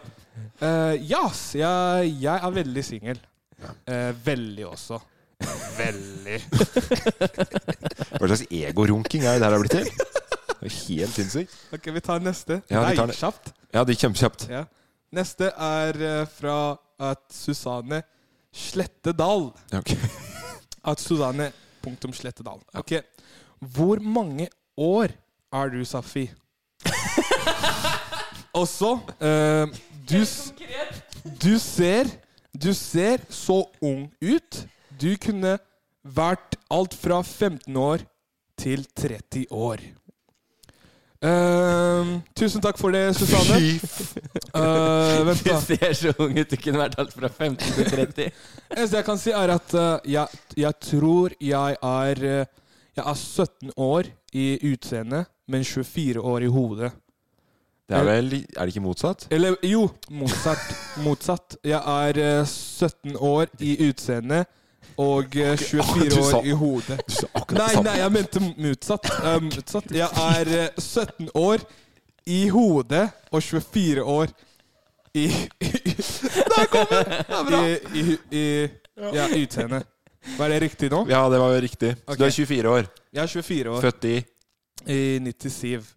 S2: *laughs* Eh, eh, yes, jeg, jeg er veldig singel. Eh, veldig også. Veldig.
S3: *laughs* Hva slags egorunking er det her har blitt til? Det er Helt sinnssykt.
S2: Ok, vi tar neste.
S3: Ja, vi
S2: Nei,
S3: tar det.
S2: kjapt.
S3: Ja, det gikk kjempekjapt.
S2: Ja. Neste er eh, fra at Susanne Slettedal.
S3: Ja, ok.
S2: At Susanne punktum Slettedal. Ok. Hvor mange år er du, Safi? *laughs* Og så eh, du, s- du ser Du ser så ung ut. Du kunne vært alt fra 15 år til 30 år. Eh, tusen takk for det, Susanne.
S3: Fy f-
S2: Eh, vent,
S1: *laughs* Du
S2: da.
S1: ser så ung ut. Du kunne vært alt fra 15 til 30.
S2: eneste jeg kan si, er at eh, jeg, jeg tror jeg er eh, Jeg er 17 år i utseendet, men 24 år i hodet.
S3: Det er vel Er det ikke motsatt?
S2: Eller jo,
S3: *laughs*
S2: motsatt. motsatt. Jeg er eh, 17 år i utseendet og eh,
S3: *laughs* du
S2: 24
S3: sa-
S2: år i hodet.
S3: Du sa akkurat det
S2: Nei,
S3: samme.
S2: nei, jeg mente motsatt. Eh, motsatt. Jeg er eh, 17 år i hodet og 24 år i Der kom den! Det er bra. I, i, i ja, utseende. Var det riktig nå?
S3: Ja, det var jo riktig. Så
S2: Ok.
S3: du er 24 år.
S2: Jeg er 24 år.
S3: Født i
S2: I 97.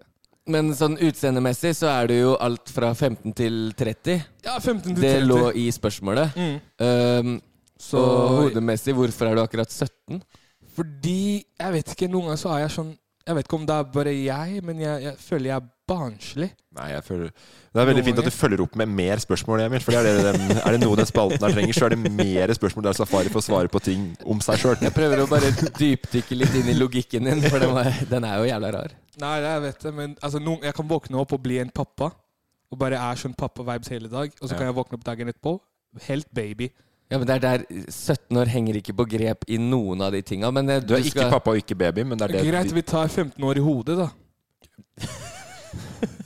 S1: Men sånn utseendemessig så er du jo alt fra 15 til 30.
S2: Ja, 15 til
S1: Det
S2: 30.
S1: lå i spørsmålet.
S2: Mm.
S1: Um,
S2: Så
S1: så hodemessig, hvorfor er du akkurat 17?
S2: Fordi Jeg vet ikke, noen ganger så er jeg sånn Jeg vet ikke om det er bare jeg, men jeg, jeg føler jeg er barnslig.
S3: Nei, jeg føler Det er veldig fint at du følger opp med mer spørsmål, Emil. For er, det den, er det noe den spalten her trenger, så er det mer spørsmål der Safari får svare på ting om seg sjøl.
S1: Jeg prøver å bare dypdykke litt inn i logikken din, for den, var, den er jo jævla rar.
S2: Nei, jeg vet det, men altså, noen, jeg kan våkne opp og bli en pappa. Og bare er sånn pappa-vibes hele dag. Og så
S3: Ja.
S2: kan jeg våkne opp dagen etterpå. Helt baby.
S1: Ja, men det er der 17 år henger ikke på grep i noen av de tinga. Men eh,
S3: Du er ikke
S1: skal-
S3: pappa og ikke baby, men det er det
S2: Greit, vi tar 15 år i hodet, da.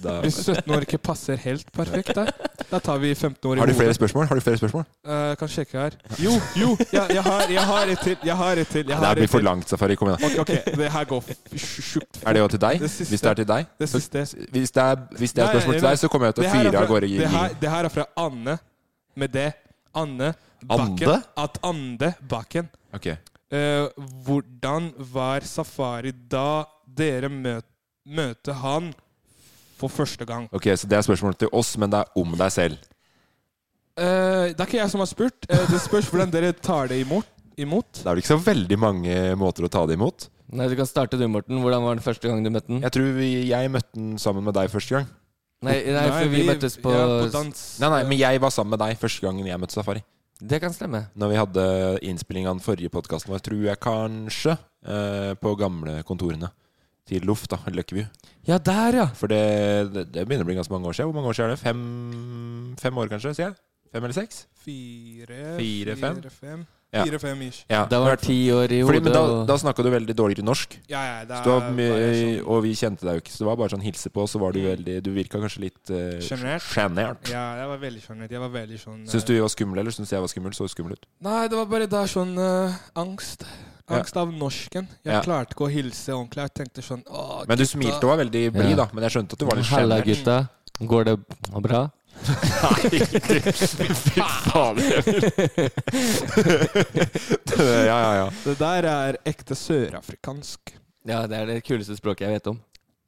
S3: det er-
S2: Hvis 17 år ikke passer helt perfekt der, da tar vi 15 år i
S3: Har du
S2: hodet.
S3: flere spørsmål? Har du flere spørsmål?
S2: Eh, kan sjekke her. Jo, jo! Jeg, jeg, har, jeg har et til. Jeg har et til. Jeg
S3: Det her
S2: har
S3: blir
S2: et
S3: for
S2: til.
S3: langt, Safari. Kom igjen.
S2: Ok, ok, det her går f- sjukt fort.
S3: Er det jo til deg?
S2: Det siste.
S3: Hvis det er til deg?
S2: Det
S3: Så-
S2: siste.
S3: Hvis det er, hvis det er
S2: Nei,
S3: spørsmål til
S2: nei,
S3: deg, så kommer jeg til
S2: Det
S3: å
S2: her er
S3: fyre av
S2: fra-
S3: gårde. i-
S2: Det her, det her er fra Anne med det. Anne Bakken.
S3: Ande?
S2: At Ande Bakken.
S3: Ok.
S2: Eh, hvordan var safari da dere møt, møtte han for første gang?
S3: ok, så det er spørsmål til oss, men det er om deg selv.
S2: Eh, det er ikke jeg som har spurt. Eh, det spørs hvordan dere tar det imot. imot.
S3: Det er vel ikke så veldig mange måter å ta det imot.
S1: Nei, Du kan starte du, Morten. Hvordan var den første gang du møtte den?
S3: Jeg tror vi, jeg møtte den sammen med deg første gang.
S1: Nei, nei, for vi, møttes på,
S2: ja, på dans.
S3: Nei, nei, men jeg var sammen med deg første gangen jeg møtte Safari.
S1: Det kan stemme.
S3: Når vi hadde innspilling av den forrige podkasten vår, tror jeg kanskje, eh, på gamlekontorene til Loff, da, Løkkeby.
S1: Ja, der, ja!
S3: For det, det, det begynner å bli ganske mange år siden. Hvor mange år siden er det? Fem, fem år, kanskje? sier jeg? Fem eller seks?
S2: Fire,
S3: Fire, fem.
S2: fem.
S3: Ja.
S2: Fire-fem ish.
S3: Ja.
S1: Det var ti år i
S3: Fordi,
S1: hodet.
S3: men da,
S1: og-
S3: da snakka du veldig dårligere norsk.
S2: Ja, ja, det
S3: Så
S2: er sånn.
S3: du var mye,
S2: variasjon.
S3: og vi kjente deg jo ikke, så det var bare sånn hilse på, og så var du veldig Du virka kanskje litt eh,
S2: Sjenert.
S3: sjenert.
S2: Ja, jeg var veldig sjenert. Jeg var veldig sånn
S3: Syns
S2: eh,
S3: du vi var skumle, eller syns jeg var skummel? Så du skummel ut?
S2: Nei, det var bare da sånn eh, angst.
S3: Ja.
S2: Angst av norsken. Jeg
S3: Ja.
S2: klarte ikke å hilse ordentlig. Jeg tenkte sånn Åh,
S3: Men du smilte og var veldig blid,
S1: Ja.
S3: da. Men jeg skjønte at du var litt
S1: Halla,
S3: sjenert.
S1: gutta. Går det bra?
S3: *laughs* Fy
S2: *laughs*
S3: fader. ja, ja, ja.
S2: Det der er ekte sørafrikansk.
S1: Ja, det er det kuleste språket jeg vet om.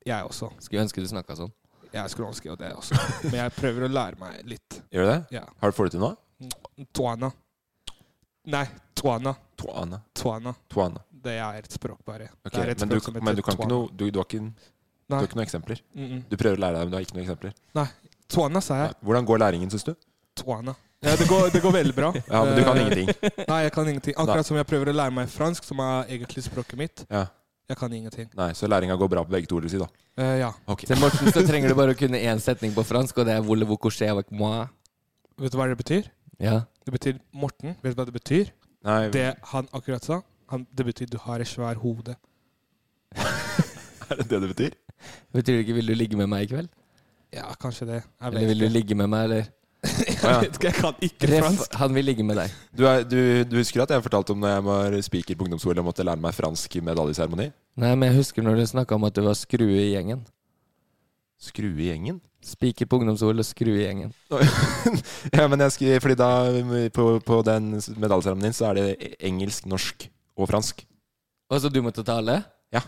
S2: Jeg også.
S1: Skulle ønske du snakka sånn.
S2: Jeg skulle ønske jo det også. Men jeg prøver å lære meg litt.
S3: Gjør du det?
S2: Ja.
S3: Har du fått det til nå?
S2: Tuana. Nei, tuana.
S3: Tuana.
S2: Tuana.
S3: Tuana.
S2: Det er et språk, bare.
S3: Ok,
S2: Det er et
S3: Men, du,
S2: språk som heter
S3: men du kan ikke
S2: tuana.
S3: noe du, du, har ikke, du
S2: Nei.
S3: har ikke noen eksempler?
S2: Mm -mm.
S3: Du prøver å lære deg, men du har ikke noen eksempler?
S2: Tuana, sa jeg.
S3: Nei. Hvordan går læringen, syns du?
S2: Tuana. Ja, det går, det går veldig bra.
S3: *laughs* Ja, men du kan
S2: Eh,
S3: ingenting.
S2: *laughs* Nei, jeg kan ingenting. Akkurat som jeg prøver å lære meg fransk, som er egentlig språket mitt.
S3: Ja.
S2: Jeg kan ingenting.
S3: Nei, Så læringa går bra på begge to, vil du si, da.
S2: Eh, ja.
S3: Ok.
S1: Til Morten så trenger du bare å kunne én setning på fransk, og det er voulez-vous coucher avec moi?
S2: Vet du hva det betyr?
S1: Ja.
S2: Det betyr Morten. Vet du hva det betyr?
S3: Nei,
S2: Det han akkurat sa, han, det betyr du har et svær hode.
S3: *laughs* Er det det det betyr?
S1: Betyr det ikke 'vil du ligge med meg i kveld'?
S2: Ja, kanskje det. Jeg
S1: Eller 'vil du ligge med meg', eller
S3: Å, *laughs* ja.
S2: vet ikke, *laughs* jeg kan ikke
S1: Ref,
S2: fransk.
S1: han vil ligge med deg.
S3: du, er, du, du husker at jeg fortalte om når jeg var speaker på ungdomsskolen og måtte lære meg fransk i medaljeseremoni?
S1: Nei, men jeg husker når du snakka om at du var skrue i gjengen.
S3: Skru i gjengen? *laughs*
S1: Spiker på ungdomsord og skrue i gjengen.
S3: Ja, men jeg skri, fordi da på, på den medaljeseremonien så er det e-, engelsk, norsk og fransk.
S1: Og så du måtte tale?
S3: Ja.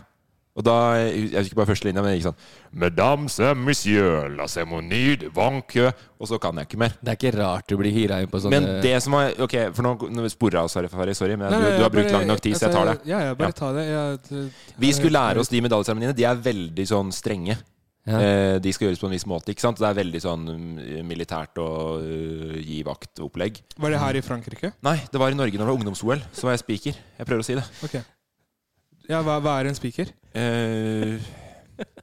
S3: Og da Jeg husker bare første linja, men det gikk sånn Mesdames et messieurs, la cérémonie de vanque Og så kan jeg ikke mer.
S1: Det er ikke rart du blir hyra inn på sånne
S3: Men det som var Ok, for nå, nå sporer jeg oss her, Ferrari. Sorry, men
S2: Nei,
S3: du,
S2: nei,
S3: du har
S2: jeg
S3: brukt
S2: bare-
S3: lang nok tid, så jeg tar det.
S2: Ja, ja, bare
S3: Ja.
S2: ta det. Jeg, det-
S3: Vi skulle lære oss de medaljeseremoniene. De er veldig sånn strenge.
S1: Ja.
S3: Eh, De skal gjøres på en viss måte. ikke sant? Det er veldig sånn mm, militært og øh, gi vakt-opplegg.
S2: Var det her i Frankrike?
S3: Nei, det var i Norge når det var ungdoms-OL. Så var jeg speaker. Jeg prøver å si det.
S2: Ok. Ja, hva, hva er en spiker?
S3: Eh, *laughs*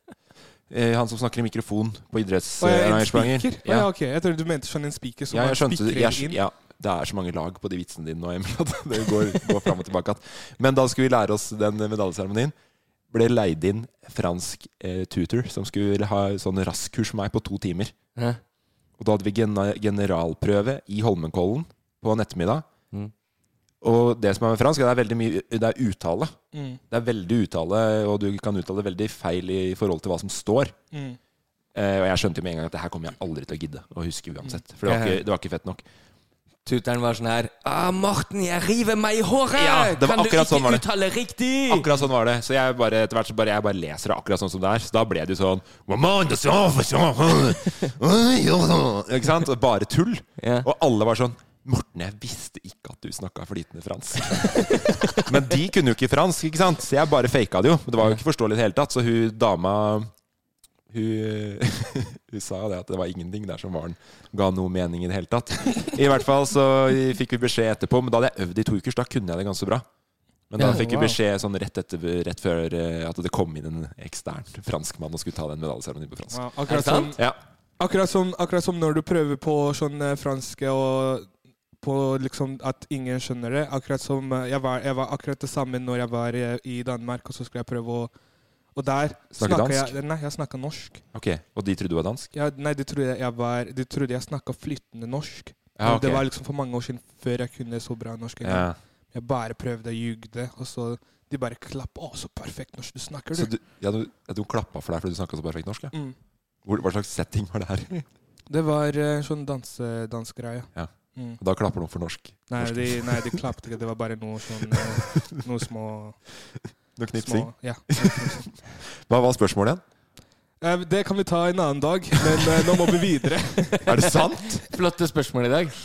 S3: eh, han som snakker i mikrofon på
S2: Å, jeg er en
S3: idrettsarrangementer.
S2: spiker? Å, Ja. ok. Jeg trodde du mente sånn en spiker som
S3: Ja,
S2: man
S3: jeg skjønte det.
S2: spikrer
S3: Jeg,
S2: inn.
S3: ja, det er så mange lag på de vitsene dine nå, *laughs* Emil, at det går, går fram og tilbake. At. Men da skulle vi lære oss den medaljeseremonien. Ble leid inn fransk eh, tutor som skulle ha sånn raskkurs med meg på to timer.
S1: Hæ?
S3: Og da hadde vi gena- generalprøve i Holmenkollen på en ettermiddag.
S1: Mm.
S3: Og det som er med fransk, er det er veldig mye Det er uttale.
S2: Mm,
S3: Det er veldig uttale, og du kan uttale veldig feil i forhold til hva som står.
S2: mm.
S3: Eh, og jeg skjønte jo med en gang at det her kommer jeg aldri til å gidde å huske uansett. For det var ikke, det var ikke fett nok.
S1: Tuteren var sånn her ah, 'Morten, jeg river meg i håret!'
S3: Ja, det var
S1: kan du
S3: akkurat
S1: ikke
S3: sånn var det.
S1: uttale riktig?
S3: Akkurat sånn var det. Så jeg bare, etter hvert så bare, jeg bare leser det akkurat sånn som det er. Så da ble det jo sånn «Maman, det så, for så, øh, jo, så». Ikke sant? Og Bare tull.
S1: Ja.
S3: Og alle var sånn Morten, jeg visste ikke at du snakka flytende fransk. *laughs* Men de kunne jo ikke fransk, ikke sant? så jeg bare faka det jo. Men Det var jo ikke forståelig i det hele tatt. Så hun dama hun, *laughs* hun sa jo det at det var ingenting der som var den ga noe mening i det hele tatt. I hvert fall så fikk vi beskjed etterpå, men da hadde jeg øvd i to uker, så da kunne jeg det ganske bra. Men da
S1: Ja,
S3: fikk vi
S2: wow.
S3: beskjed sånn rett, etter, rett før eh, at det kom inn en ekstern franskmann og skulle ta den medaljeseremonien på fransk.
S2: Wow.
S1: Er det
S2: Akkurat, sånn- som,
S1: sant?
S3: Ja.
S2: akkurat, som, akkurat som når du prøver på sånn eh, franske og på liksom at ingen skjønner det. Akkurat som eh, jeg var, jeg var akkurat det samme når jeg var eh, i Danmark, og så skulle jeg prøve å Og der
S3: Snakke
S2: snakket
S3: dansk?
S2: Jeg, nei, jeg snakka norsk.
S3: Ok, Og de trodde du var dansk?
S2: Jeg, nei, de trodde jeg, var, de trodde jeg snakka flytende norsk.
S3: Ja,
S2: Men
S3: ok.
S2: Det var liksom for mange år siden før jeg kunne så bra norsk.
S3: ja.
S2: Jeg bare prøvde og ljugde, og så de bare klapp. 'Å, så perfekt norsk du snakker,
S3: Så
S2: du'.
S3: du, ja, du, ja, du klappa for deg fordi du snakka så perfekt norsk? Ja.
S2: Mm.
S3: Hvor, hva slags setting var det
S2: *laughs*
S3: her?
S2: Det var eh, sånn danse- dansgreie.
S3: Ja.
S2: Mm.
S3: Da klapper noen for norsk.
S2: Nei,
S3: norsk.
S2: de, nei, de klappet ikke. Det var bare noe sånn
S3: *laughs*
S2: eh, Noe små,
S3: Noe knipsing.
S2: små Ja.
S3: Hva var spørsmålet igjen?
S2: Eh, Det kan vi ta en annen dag, men eh, nå må vi
S3: *laughs*
S2: videre.
S3: Er det sant?
S2: *laughs*
S1: Flotte spørsmål i dag.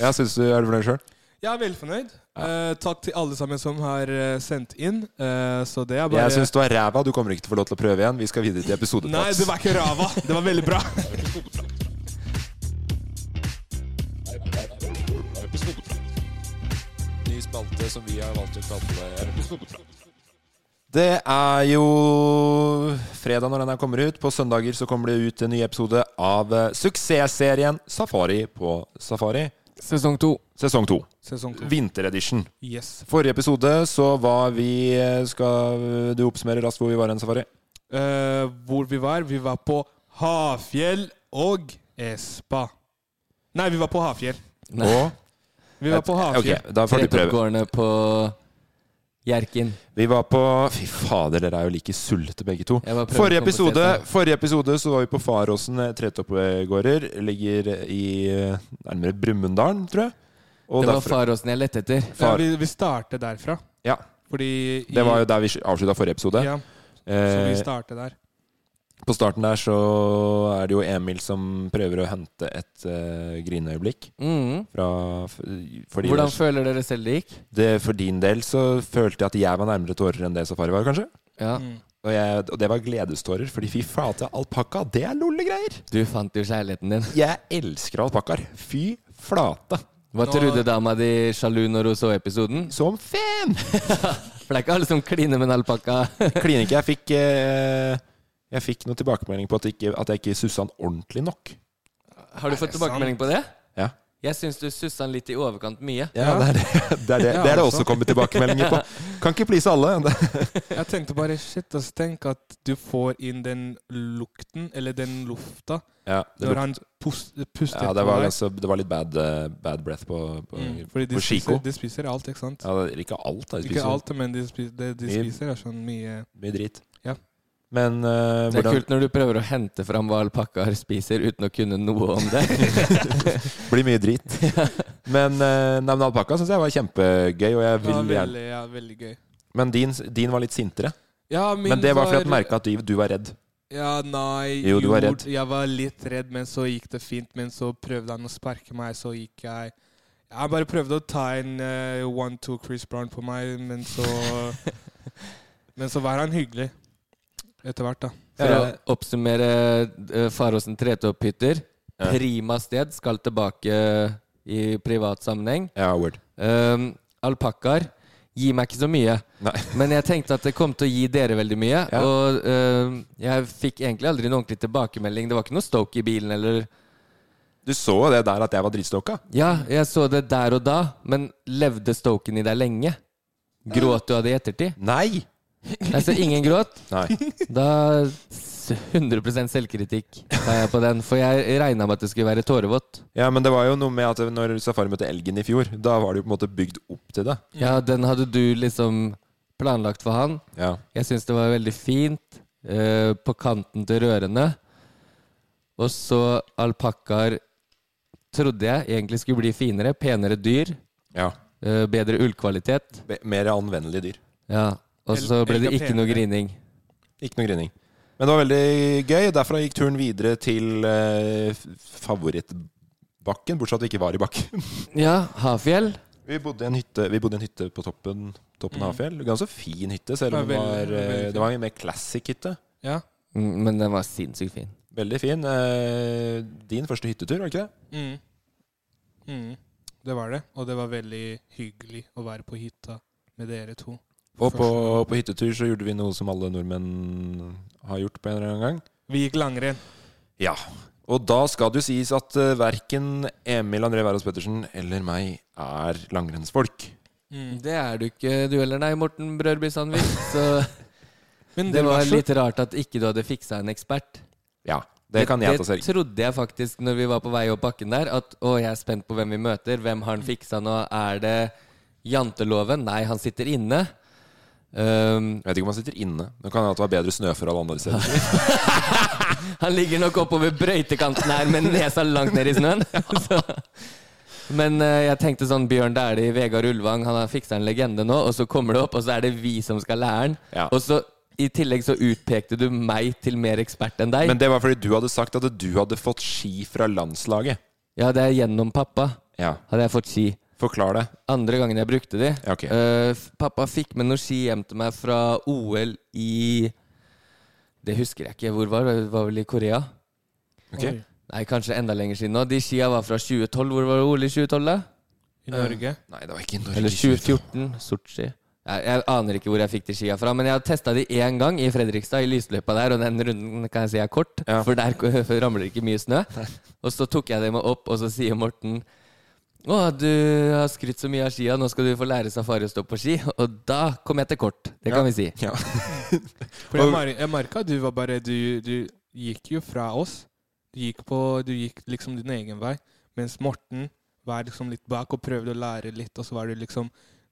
S3: Jeg synes du Er du fornøyd sjøl?
S2: Jeg er velfornøyd. Eh, takk til alle sammen som har eh, sendt inn. Eh, så det er bare
S3: Jeg syns du er ræva. Du kommer ikke til å få lov til å prøve igjen. Vi skal videre til episode
S2: Nei, det var ikke ræva. Det var veldig
S3: *laughs*
S2: bra.
S3: ny spalte som vi har valgt å kalle Det er jo fredag når den her kommer ut. På søndager så kommer det ut en ny episode av eh, suksessserien Safari på Safari.
S1: Sesong to.
S3: Sesong to.
S2: Sesong to.
S3: Vinteredition.
S2: Yes.
S3: Forrige episode så var vi eh, Skal du oppsummere raskt hvor vi var hen, Safari?
S2: Eh, hvor vi var? Vi var på Hafjell og Espa. Nei, vi var på Hafjell.
S3: Og
S2: Vi var på Hafjell.
S3: Eh, Ok, da får du prøve.
S1: Tretoppgårdene på Hjerkinn.
S3: Vi var på Fy fader, dere er jo like sulte begge to.
S1: Jeg bare prøver
S3: Forrige
S1: å komme på
S3: episode,
S1: stedet.
S3: forrige episode så var vi på Faråsen eh, tretoppgårder. Ligger i eh, nærmere Brumunddalen, tror jeg. Og
S1: Det var
S3: derfra-
S1: Faråsen jeg lette etter.
S2: Ja,
S3: far-
S2: vi, vi starter derfra.
S3: Ja,
S2: Fordi i-
S3: det var jo der vi avslutta forrige episode.
S2: Ja, så vi
S3: eh,
S2: starter der.
S3: på starten der så er det jo Emil som prøver å hente et eh, grineøyeblikk.
S1: Mm.
S3: Fra, f- for, de-
S1: Hvordan føler dere selv det gikk?
S3: det, for din del så følte jeg at jeg var nærmere tårer enn det Safari var, kanskje.
S1: Ja.
S3: Og, jeg, og det var gledestårer, fordi fy flate, alpakka, det er lolle greier!
S1: Du fant jo kjærligheten din.
S3: Jeg elsker alpakkaer. Fy flate.
S1: Hva trodde dama di sjalu når hun så episoden?
S3: Som fan!
S1: For det er ikke alle som kliner med en alpakka.
S3: Kliner ikke. Jeg fikk, eh, jeg fikk noen tilbakemelding på at, ikke, at jeg ikke sussa den ordentlig nok.
S1: Har du fått tilbakemelding på det?
S3: Ja.
S1: Jeg syns du sussa den litt i overkant mye.
S3: Ja, Det er det *laughs* det, er det, det, er det også kommet tilbakemeldinger på. Kan ikke please alle. Det-
S2: Jeg tenkte bare shit, altså, tenk at du får inn den lukten, eller den lufta,
S3: Ja, det,
S2: når han pus- puster
S3: ja, det, var,
S2: på deg.
S3: altså, det var litt bad, eh, bad breath på, på,
S2: Mm, fordi de
S3: på Chico.
S2: spiser, de spiser alt, ikke sant?
S3: Ja, det er ikke alt. Da. Jeg
S2: Ikke
S3: spiser
S2: alt, men de spiser, det de
S3: Mye.
S2: spiser er sånn mye
S3: mye drit.
S2: Ja.
S3: Men eh,
S1: Det er
S3: hvordan
S1: kult når du prøver å hente fram hva alpakkaer spiser uten å kunne noe om
S3: *laughs*
S1: det.
S3: *laughs* Blir mye drit. Men, eh, nei, men alpakka syns jeg var kjempegøy, og jeg
S2: Det var
S3: vil gjerne
S2: veldig, ja, veldig gøy.
S3: Men din, din var litt sintere.
S2: Ja, min
S3: Men det var fordi jeg merka at du, du var redd.
S2: Ja, nei
S3: Jo, du var redd.
S2: Jeg var litt redd, men så gikk det fint. Men så prøvde han å sparke meg, så gikk jeg Jeg bare prøvde å ta en eh, one-two Chris Brown på meg, men
S3: *laughs*
S2: så Men så var han hyggelig. Etter hvert, da.
S1: For å oppsummere eh, Faråsen tretopphytter. Prima sted. Skal tilbake i privat sammenheng.
S3: Ja, word.
S1: Um, Alpakkaer gir meg ikke så mye.
S3: Nei. *laughs*
S1: Men jeg tenkte at det kom til å gi dere veldig mye.
S3: Ja.
S1: Og um, jeg fikk egentlig aldri noen ordentlig tilbakemelding. Det var ikke noe stoke i bilen eller
S3: Du så jo det der at jeg var dritstokka.
S1: Ja, jeg så det der og da, men levde stoken i deg lenge? Gråt du av det i ettertid?
S3: Nei!
S1: Altså, ingen gråt.
S3: Nei.
S1: Da s- 100 selvkritikk tar jeg på den, for jeg regna med at det skulle være tårevått.
S3: Ja, men det var jo noe med at når Safari møtte elgen i fjor, da var det jo på en måte bygd opp til det.
S1: Ja, den hadde du liksom planlagt for han.
S3: Ja.
S1: Jeg syns det var veldig fint. eh, på kanten til rørene. Og så alpakkaer trodde jeg egentlig skulle bli finere. Penere dyr.
S3: ja.
S1: eh, bedre ullkvalitet.
S3: Be- Mer anvendelige dyr.
S1: Ja. Og så ble det
S2: elg er
S1: ikke noe
S2: penere.
S1: grining.
S3: Ikke noe grining. Men det var veldig gøy. Derfra gikk turen videre til eh, f- favorittbakken, bortsett fra at vi ikke var i bakken.
S1: Ja, Hafjell.
S3: *laughs* Vi bodde i en hytte, vi bodde i en hytte på toppen, toppen av Hafjell. Ganske fin hytte, selv om
S2: Det
S3: det
S2: var
S3: var,
S2: veldig-
S3: eh,
S2: veldig
S3: det var en mer classic hytte.
S2: Ja.
S1: Mm, Men den var sinnssykt fin.
S3: Veldig fin. Eh, Din første hyttetur, var det ikke det?
S2: Mm. Mm. Det var det. Og det var veldig hyggelig å være på hytta med dere to.
S3: Og på, på hyttetur så gjorde vi noe som alle nordmenn har gjort på en eller annen gang.
S2: Vi gikk langrenn.
S3: Ja. Og da skal det jo sies at eh, verken Emil André Wærås Pettersen eller meg er langrennsfolk.
S1: Det er du ikke, du heller, nei, Morten Brørby Sandvik. Så
S2: Men
S1: det
S2: dere
S1: var
S2: så-
S1: litt rart at ikke du hadde fiksa en ekspert.
S3: Ja, det kan jeg ta
S1: Det
S3: selv.
S1: trodde jeg faktisk når vi var på vei opp bakken der, at å, jeg er spent på hvem vi møter. Hvem har han fiksa nå? Er det janteloven? Nei, han sitter inne. Ehm,
S3: Jeg vet ikke om han sitter inne. Nå kan det hende at det var bedre snøforhold andre steder.
S1: han ligger nok oppover brøytekanten her med nesa langt ned i
S3: *laughs*
S1: snøen. *laughs* Så. Men eh, jeg tenkte sånn Bjørn Dæhlie, Vegard Ulvang, han har fiksa en legende nå. Og så kommer det opp, og så er det vi som skal lære han.
S3: Ja.
S1: Og så i tillegg så utpekte du meg til mer ekspert enn deg.
S3: Men det var fordi du hadde sagt at du hadde fått ski fra landslaget.
S1: ja, det er gjennom pappa.
S3: Ja,
S1: Hadde jeg fått ski.
S3: Forklar det.
S1: Andre gangen jeg brukte de.
S3: Ja, ok.
S1: Eh, f- pappa fikk med noen ski hjem til meg fra OL i Det husker jeg ikke. Hvor var det? Det var vel i Korea?
S3: Ok.
S2: Oi.
S1: Nei, kanskje enda lenger siden nå. De skia var fra 2012. Hvor var det OL i 2012, da?
S2: I Norge.
S3: Nei, det var ikke Norge.
S1: Eller
S3: i 2014.
S1: 2014. Sotsji. Jeg, jeg aner ikke hvor jeg fikk de skia fra, men jeg har testa de én gang i Fredrikstad, i lysløypa der, og den runden kan jeg si er kort,
S3: Ja.
S1: *laughs* for der ramler det ikke mye snø. Og så tok jeg dem opp, og så sier Morten Å, du har skrytt så mye av skia, nå skal du få lære safari å stå på ski. Og da kom jeg til kort. Det kan vi si.
S3: Ja.
S2: For jeg,
S3: Og-
S2: mer, jeg merka du var bare du, du gikk jo fra oss. Du gikk, på, du gikk liksom din egen vei. Mens Morten var liksom litt bak og prøvde å lære litt, og så var du liksom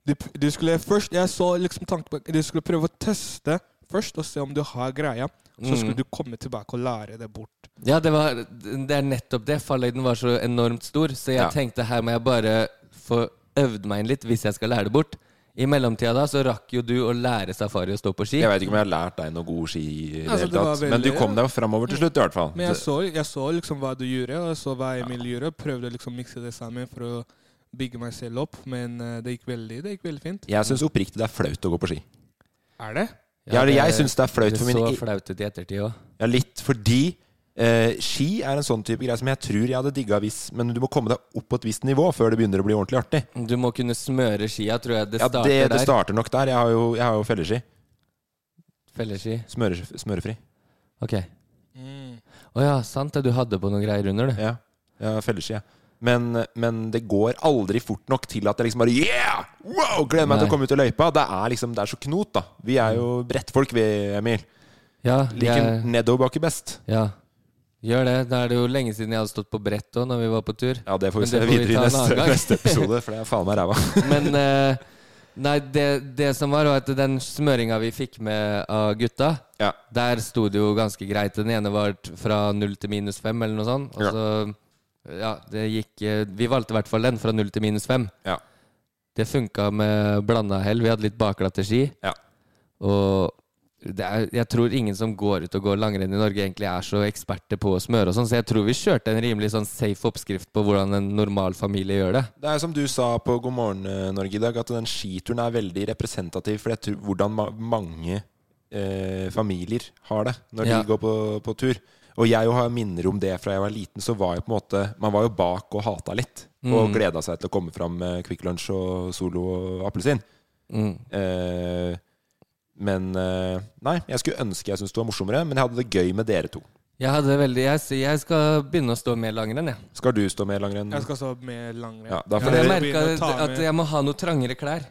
S2: du, du skulle først, Jeg så liksom tanken på Du skulle prøve å teste først og se om du har greia. Så
S1: Mm.
S2: skulle du komme tilbake og lære det bort.
S1: Ja, det, var, det er nettopp det. Falløyden var så enormt stor, så jeg
S3: Ja.
S1: tenkte her må jeg bare få øvd meg inn litt hvis jeg skal lære det bort. I mellomtida da så rakk jo du å lære safari å stå på ski.
S3: Jeg veit ikke om jeg har lært deg noe god ski, i det
S2: Altså,
S3: hele
S2: det
S3: tatt.
S2: var
S3: men du
S2: veldig- Mm.
S3: kom deg jo framover til slutt, i hvert fall.
S2: Men jeg så, jeg så liksom hva du gjorde, og jeg så hva Emil gjorde. og Prøvde liksom å mikse det sammen for å bygge meg selv opp, men eh, det gikk veldig, det gikk veldig fint.
S3: Jeg syns oppriktig det er flaut å gå på ski.
S2: Er det?
S3: Ja, det- jeg syns det er flaut
S1: det
S3: for min
S1: så
S3: e-
S1: flaut ut i ettertid òg.
S3: Ja, litt fordi eh, ski er en sånn type greie som jeg tror jeg hadde digga hvis Men du må komme deg opp på et visst nivå før det begynner å bli ordentlig artig.
S1: Du må kunne smøre skia, tror jeg. Det
S3: Ja,
S1: starter
S3: det, det
S1: der.
S3: starter nok der. Jeg har jo, jeg har jo felleski.
S1: Felleski.
S3: Smøre, smørefri.
S1: Ok.
S2: Mm.
S1: Å ja, sant det. Du hadde på noen greier under, du.
S3: Ja, jeg har felleski, jeg. Men, men det går aldri fort nok til at jeg liksom bare Yeah! Wow! Gleder meg til
S1: Nei. Mm.
S3: å komme ut i løypa. Det er liksom, det er så knot, da. Vi er jo brettfolk, vi, Emil.
S1: Ja,
S3: Liker
S1: jeg,
S3: nedoverbakke best.
S1: ja. Gjør det. Da er det jo lenge siden jeg hadde stått på brett òg, når vi var på tur.
S3: Ja, det får vi
S1: Men
S3: se
S1: det får vi
S3: videre i
S1: ta en annen
S3: neste,
S1: gang.
S3: neste episode, for det er faen meg ræva.
S1: *laughs* Men eh, Nei, det, det som var, var at den smøringa vi fikk med av gutta,
S3: Ja.
S1: der sto det jo ganske greit. Den ene var t- fra null til minus fem, eller noe sånt. Og
S3: Ja.
S1: så Ja, det gikk eh, Vi valgte i hvert fall den, fra null til minus fem.
S3: Ja.
S1: Det funka med blanda hell. Vi hadde litt bakglatte ski.
S3: Ja.
S1: Og det er, jeg tror ingen som går ut og går langrenn i Norge, egentlig er så eksperter på å smøre og sånn, så jeg tror vi kjørte en rimelig sånn safe oppskrift på hvordan en normal familie gjør det.
S3: Det er som du sa på God morgen eh, Norge i dag, at den skituren er veldig representativ for jeg tror, hvordan ma mange eh, familier har det når
S1: Ja.
S3: de går på, på tur. Og jeg jo har minner om det fra jeg var liten, så var jeg på en måte Man var jo bak og hata litt.
S1: Mm.
S3: Og gleda seg til å komme fram med Kvikk Lunsj og Solo og appelsin.
S1: Mm.
S3: Eh, men eh, Nei, jeg skulle ønske jeg syntes det var morsommere, men jeg hadde det gøy med dere to.
S1: Jeg hadde veldig Jeg, sier jeg skal begynne å stå mer langrenn, jeg.
S3: Skal du stå med i langrenn?
S2: Jeg skal så med langrenn.
S3: Ja, da får
S1: For
S3: dere-
S1: jeg
S2: jeg
S1: merka
S2: begynner å ta
S1: at
S2: med-
S1: jeg må ha noe trangere klær.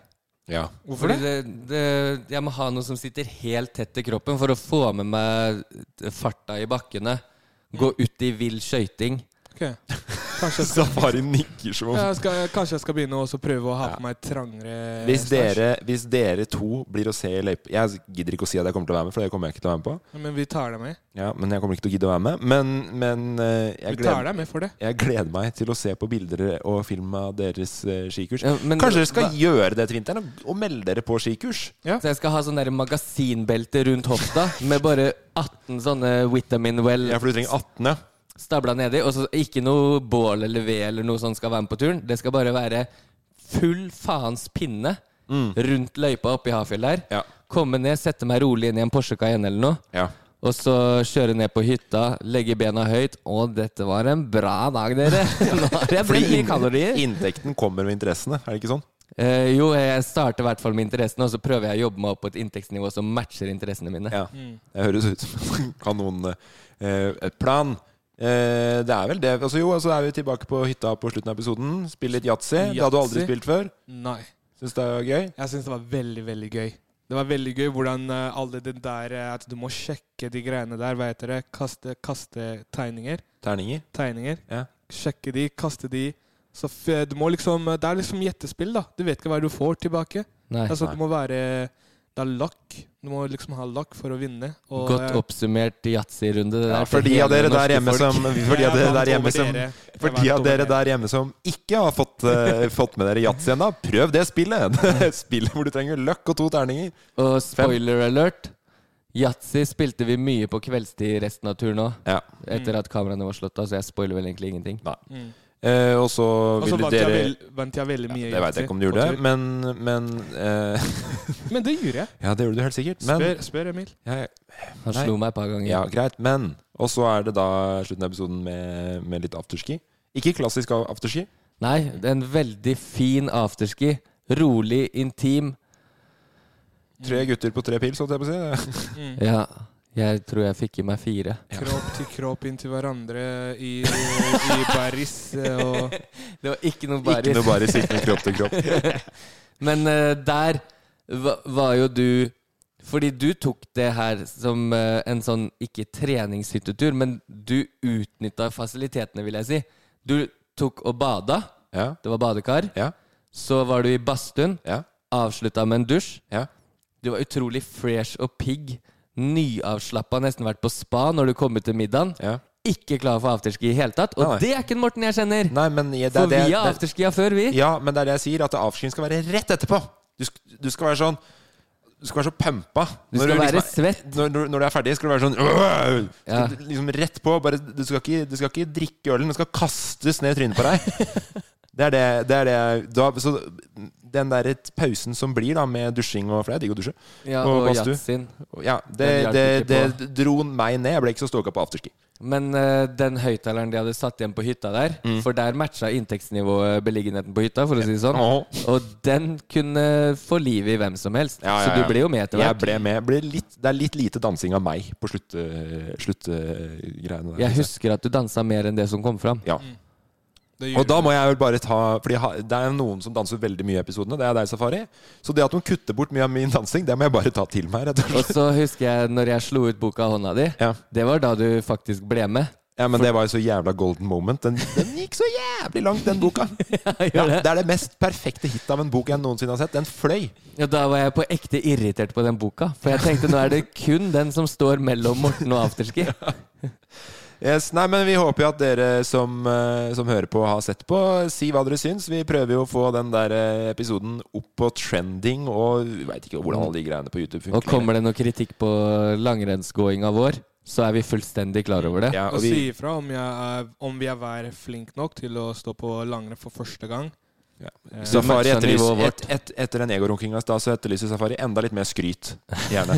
S3: Ja.
S2: Hvorfor
S1: Fordi det- det- jeg må ha noe som sitter helt tett i kroppen for å få med meg farta i bakkene. Gå ut i vill skøyting.
S2: Ok. Kanskje jeg skal,
S3: Safari nikker som om
S2: jeg skal, kanskje jeg skal begynne å også prøve å ha på meg trangere
S3: Hvis
S2: stasj.
S3: dere, hvis dere to blir å se i løypa Jeg gidder ikke å si at jeg kommer til å være med, for det kommer jeg ikke til å være med på.
S2: Men vi tar deg med.
S3: Ja, men jeg kommer ikke til å gidde å være med. Men, men eh, jeg,
S2: Vi tar
S3: gleder,
S2: deg med for det.
S3: jeg gleder meg til å se på bilder og film av deres eh, skikurs.
S1: Ja, men-
S3: Kanskje dere skal
S1: hva-
S3: gjøre det til vinteren og- og melde dere på skikurs?
S1: Så jeg skal ha sånn der magasinbelte rundt hofta med bare 18 sånne Vitamin Well
S3: Ja, for du trenger 18, ja.
S1: stabla nedi. Og så ikke noe bål eller ved eller noe sånt skal være med på turen. Det skal bare være full faens pinne rundt løypa oppe i Hafjell der.
S3: Mm. Ja.
S1: Komme ned, sette meg rolig inn i en Porsche Cayenne eller noe.
S3: Ja.
S1: Og så kjøre ned på hytta, legge bena høyt. Å, dette var en bra dag,
S3: *laughs*
S1: dere! Nå har jeg brukt mye
S3: inn-
S1: kalorier.
S3: inntekten kommer med interessene, er det ikke sånn?
S1: Eh, jo, jeg starter i hvert fall med interessene, og så prøver jeg å jobbe meg opp på et inntektsnivå som matcher interessene mine.
S3: Ja. Det høres ut som en *laughs* kanon eh, et plan. Eh, det er vel det. Altså, jo, altså, er vi tilbake på hytta på slutten av episoden. Spille litt yatzy. Det har du aldri
S2: Yatzy.
S3: spilt før.
S2: Nei.
S3: Syns det er gøy.
S2: Jeg syns det var veldig, veldig gøy. Det var veldig gøy hvordan eh, alle den der eh, At du må sjekke de greiene der, hva heter det? Kaste, kaste tegninger.
S3: Terninger.
S2: Tegninger.
S3: Ja.
S2: Sjekke de, kaste de. Så f du må liksom Det er liksom gjettespill, da. Du vet ikke hva du får tilbake.
S1: Nei.
S2: Altså, det må være Det er luck. Du må liksom ha luck for å vinne. Og,
S1: Godt
S2: eh,
S1: oppsummert yatzy-runde. det
S3: Ja,
S1: der
S3: for
S1: til
S3: de av
S1: hele
S3: dere
S1: det norske
S3: der hjemme
S1: folk.
S3: som For de
S2: jeg
S3: av dere
S2: vant
S3: der hjemme
S2: over
S3: som
S2: dere. Jeg
S3: for de
S2: vant
S3: av
S2: over
S3: dere der hjemme som ikke har fått, eh, fått med dere yatzy ennå, prøv det spillet! Det er *laughs* spillet hvor du trenger løkk og to terninger.
S1: Og spoiler alert, yatzy spilte vi mye på kveldstid resten av turen òg.
S3: Ja.
S1: Etter at kameraene var slått av, så jeg spoiler vel egentlig ingenting.
S3: Eh, og så
S2: Og så
S3: vil
S2: vant, jeg
S3: dere
S2: vel- vant jeg veldig mye.
S3: Det veit jeg ikke om du
S2: på
S3: gjorde,
S2: tur.
S3: men, men eh, *laughs*
S2: Men det gjorde jeg.
S3: Ja, det gjorde du helt sikkert. Men
S2: Spør, spør Emil.
S3: jeg,
S1: Han
S3: Nei.
S1: slo meg et par ganger.
S3: Ja, greit, men Og så er det da slutten av episoden med, med litt afterski. Ikke klassisk av- afterski.
S1: Nei, det er en veldig fin afterski. Rolig, intim. Mm.
S3: Tre gutter på tre pils, holdt jeg på å si.
S1: Ja. Jeg tror jeg fikk i meg fire.
S2: Kropp til kropp inntil hverandre i, i baris. Og
S1: Det var ikke noe
S3: Ikke
S1: baris.
S3: noe bare sittende kropp til kropp.
S1: Men eh, der va var jo du Fordi du tok det her som eh, en sånn ikke treningshyttetur, men du utnytta fasilitetene, vil jeg si. Du tok og bada.
S3: Ja.
S1: Det var badekar.
S3: Ja.
S1: Så var du i badstuen.
S3: Ja.
S1: Avslutta med en dusj.
S3: Ja.
S1: Du var utrolig fresh og pigg. Nyavslappa, nesten vært på spa når du kom ut til middagen.
S3: Ja.
S1: Ikke klar for afterski i hele tatt. Og
S3: Nei, nei.
S1: det er ikke den Morten jeg kjenner!
S3: Nei, men jeg- det er
S1: for
S3: det,
S1: vi har
S3: det,
S1: afterskia før, vi.
S3: Ja, men det er det jeg sier, at avskyen skal være rett etterpå. Du, sk- du skal være sånn Du skal være så pumpa.
S1: Du skal være svett.
S3: Når, når, når du er ferdig, skal du være sånn «Åh!»
S1: Ja.
S3: Skal du Liksom Rett på. Bare, du, skal ikke, du skal ikke drikke ølen, den skal kastes ned i trynet
S1: *laughs*
S3: på deg. Det er det, det, er det jeg- da, Så den der pausen som blir da med dusjing og For det er digg å dusje.
S1: Ja,
S3: og
S1: og
S3: badstue.
S1: Yatzin.
S3: Ja, det, det,
S1: Den hjelper
S3: det
S1: ikke
S3: dro meg ned. Jeg ble ikke så stoka på afterski.
S1: Men eh, den høyttaleren de hadde satt igjen på hytta der,
S3: Mm.
S1: for der matcha inntektsnivået beliggenheten på hytta, for å si det sånn,
S3: Åh.
S1: og den kunne få liv i hvem som helst.
S3: Ja, ja,
S1: Så
S3: ja.
S1: du ble jo med etter
S3: Jeg
S1: hvert.
S3: ble med. Ble litt, det er litt lite dansing av meg på sluttgreiene. Slutt, eh, greiene der,
S1: Jeg
S3: synes jeg.
S1: husker at du dansa mer enn det som kom fram.
S3: Ja.
S2: det
S3: Og
S2: gjør
S3: da må jeg vel bare ta Fordi jeg har- det er noen som danser veldig mye i episodene. Det er deg, Safari. Så det at hun kutter bort mye av min dansing, det må jeg bare ta til meg. Rett og slett.
S1: Og så husker jeg når jeg slo ut boka av hånda di.
S3: Ja.
S1: Det var da du faktisk ble med.
S3: Ja, men det var jo så jævla golden moment. Den, den gikk så jævlig langt, den
S1: *laughs*
S3: boka. Ja, det er det mest perfekte hit av en bok jeg noensinne har sett. Den fløy.
S1: Og da var jeg på ekte irritert på den boka, for jeg tenkte nå er det kun den som står mellom Morten og
S3: *laughs*
S1: afterski.
S3: Yes, nei, men Vi håper jo at dere som, eh, som hører på, har sett på. Si hva dere syns. Vi prøver jo å få den der eh, episoden opp på trending. Og vi veit ikke hvordan alle de greiene på YouTube funker.
S1: Og kommer det noe kritikk på langrennsgåinga vår, så er vi fullstendig klar over det.
S3: ja,
S2: Og
S3: og
S2: si
S3: vi,
S2: ifra om, jeg er, om jeg var flink nok til å stå på langrenn for første gang.
S3: Ja.
S2: Eh,
S3: Safari
S1: matcher
S3: etterlyser,
S1: nivået
S3: et, et, etter den egorunkinga i stad, så etterlyser Safari enda litt mer skryt.
S1: *laughs*
S3: Gjerne.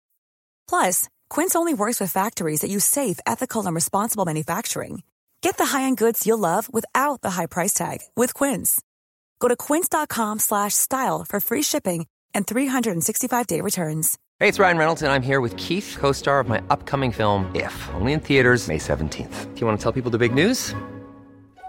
S5: Plus, Quince only works with factories that use safe, ethical, and responsible manufacturing. Get the high-end goods you'll love without the high price tag with Quince. Go to quince.com slash style for free shipping and 365-day returns.
S6: Hey, it's Ryan Reynolds, and I'm here with Keith, co star of my upcoming film, If, only in theaters, May 17th. Do you want to tell people the big news?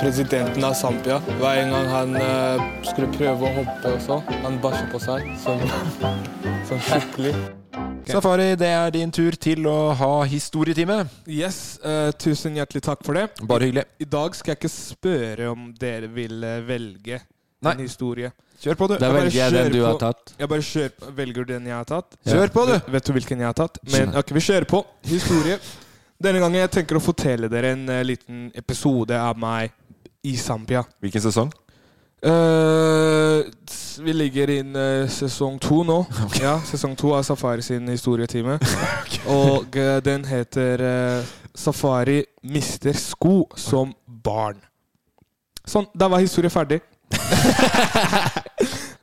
S4: Presidenten av Zambia. Hver en gang han eh, skulle prøve å hoppe også, han bæsja på seg. Sånn, sånn skikkelig.
S3: Safari, det er din tur til å ha historietime.
S2: Yes, eh, tusen hjertelig takk for det.
S3: Bare hyggelig.
S2: I dag skal jeg ikke spørre om dere vil eh, velge
S3: Nei.
S2: en historie.
S3: Kjør på, du.
S1: Da
S2: Jeg bare
S1: velger jeg den
S2: kjører
S1: du har
S2: på.
S1: tatt.
S2: Jeg bare kjører på. Velger du den jeg har tatt?
S3: Kjør på, du.
S2: Vet du hvilken jeg har tatt? Men ok, vi kjører på. Historie. Denne gangen jeg tenker å fortelle dere en eh, liten episode av meg i Zambia.
S3: Hvilken sesong?
S2: Eh, s- vi ligger inn eh, sesong to nå. Ja, Sesong to av Safari sin historietime. Og eh, den heter eh, 'Safari mister sko som barn'. Sånn, da var historien ferdig.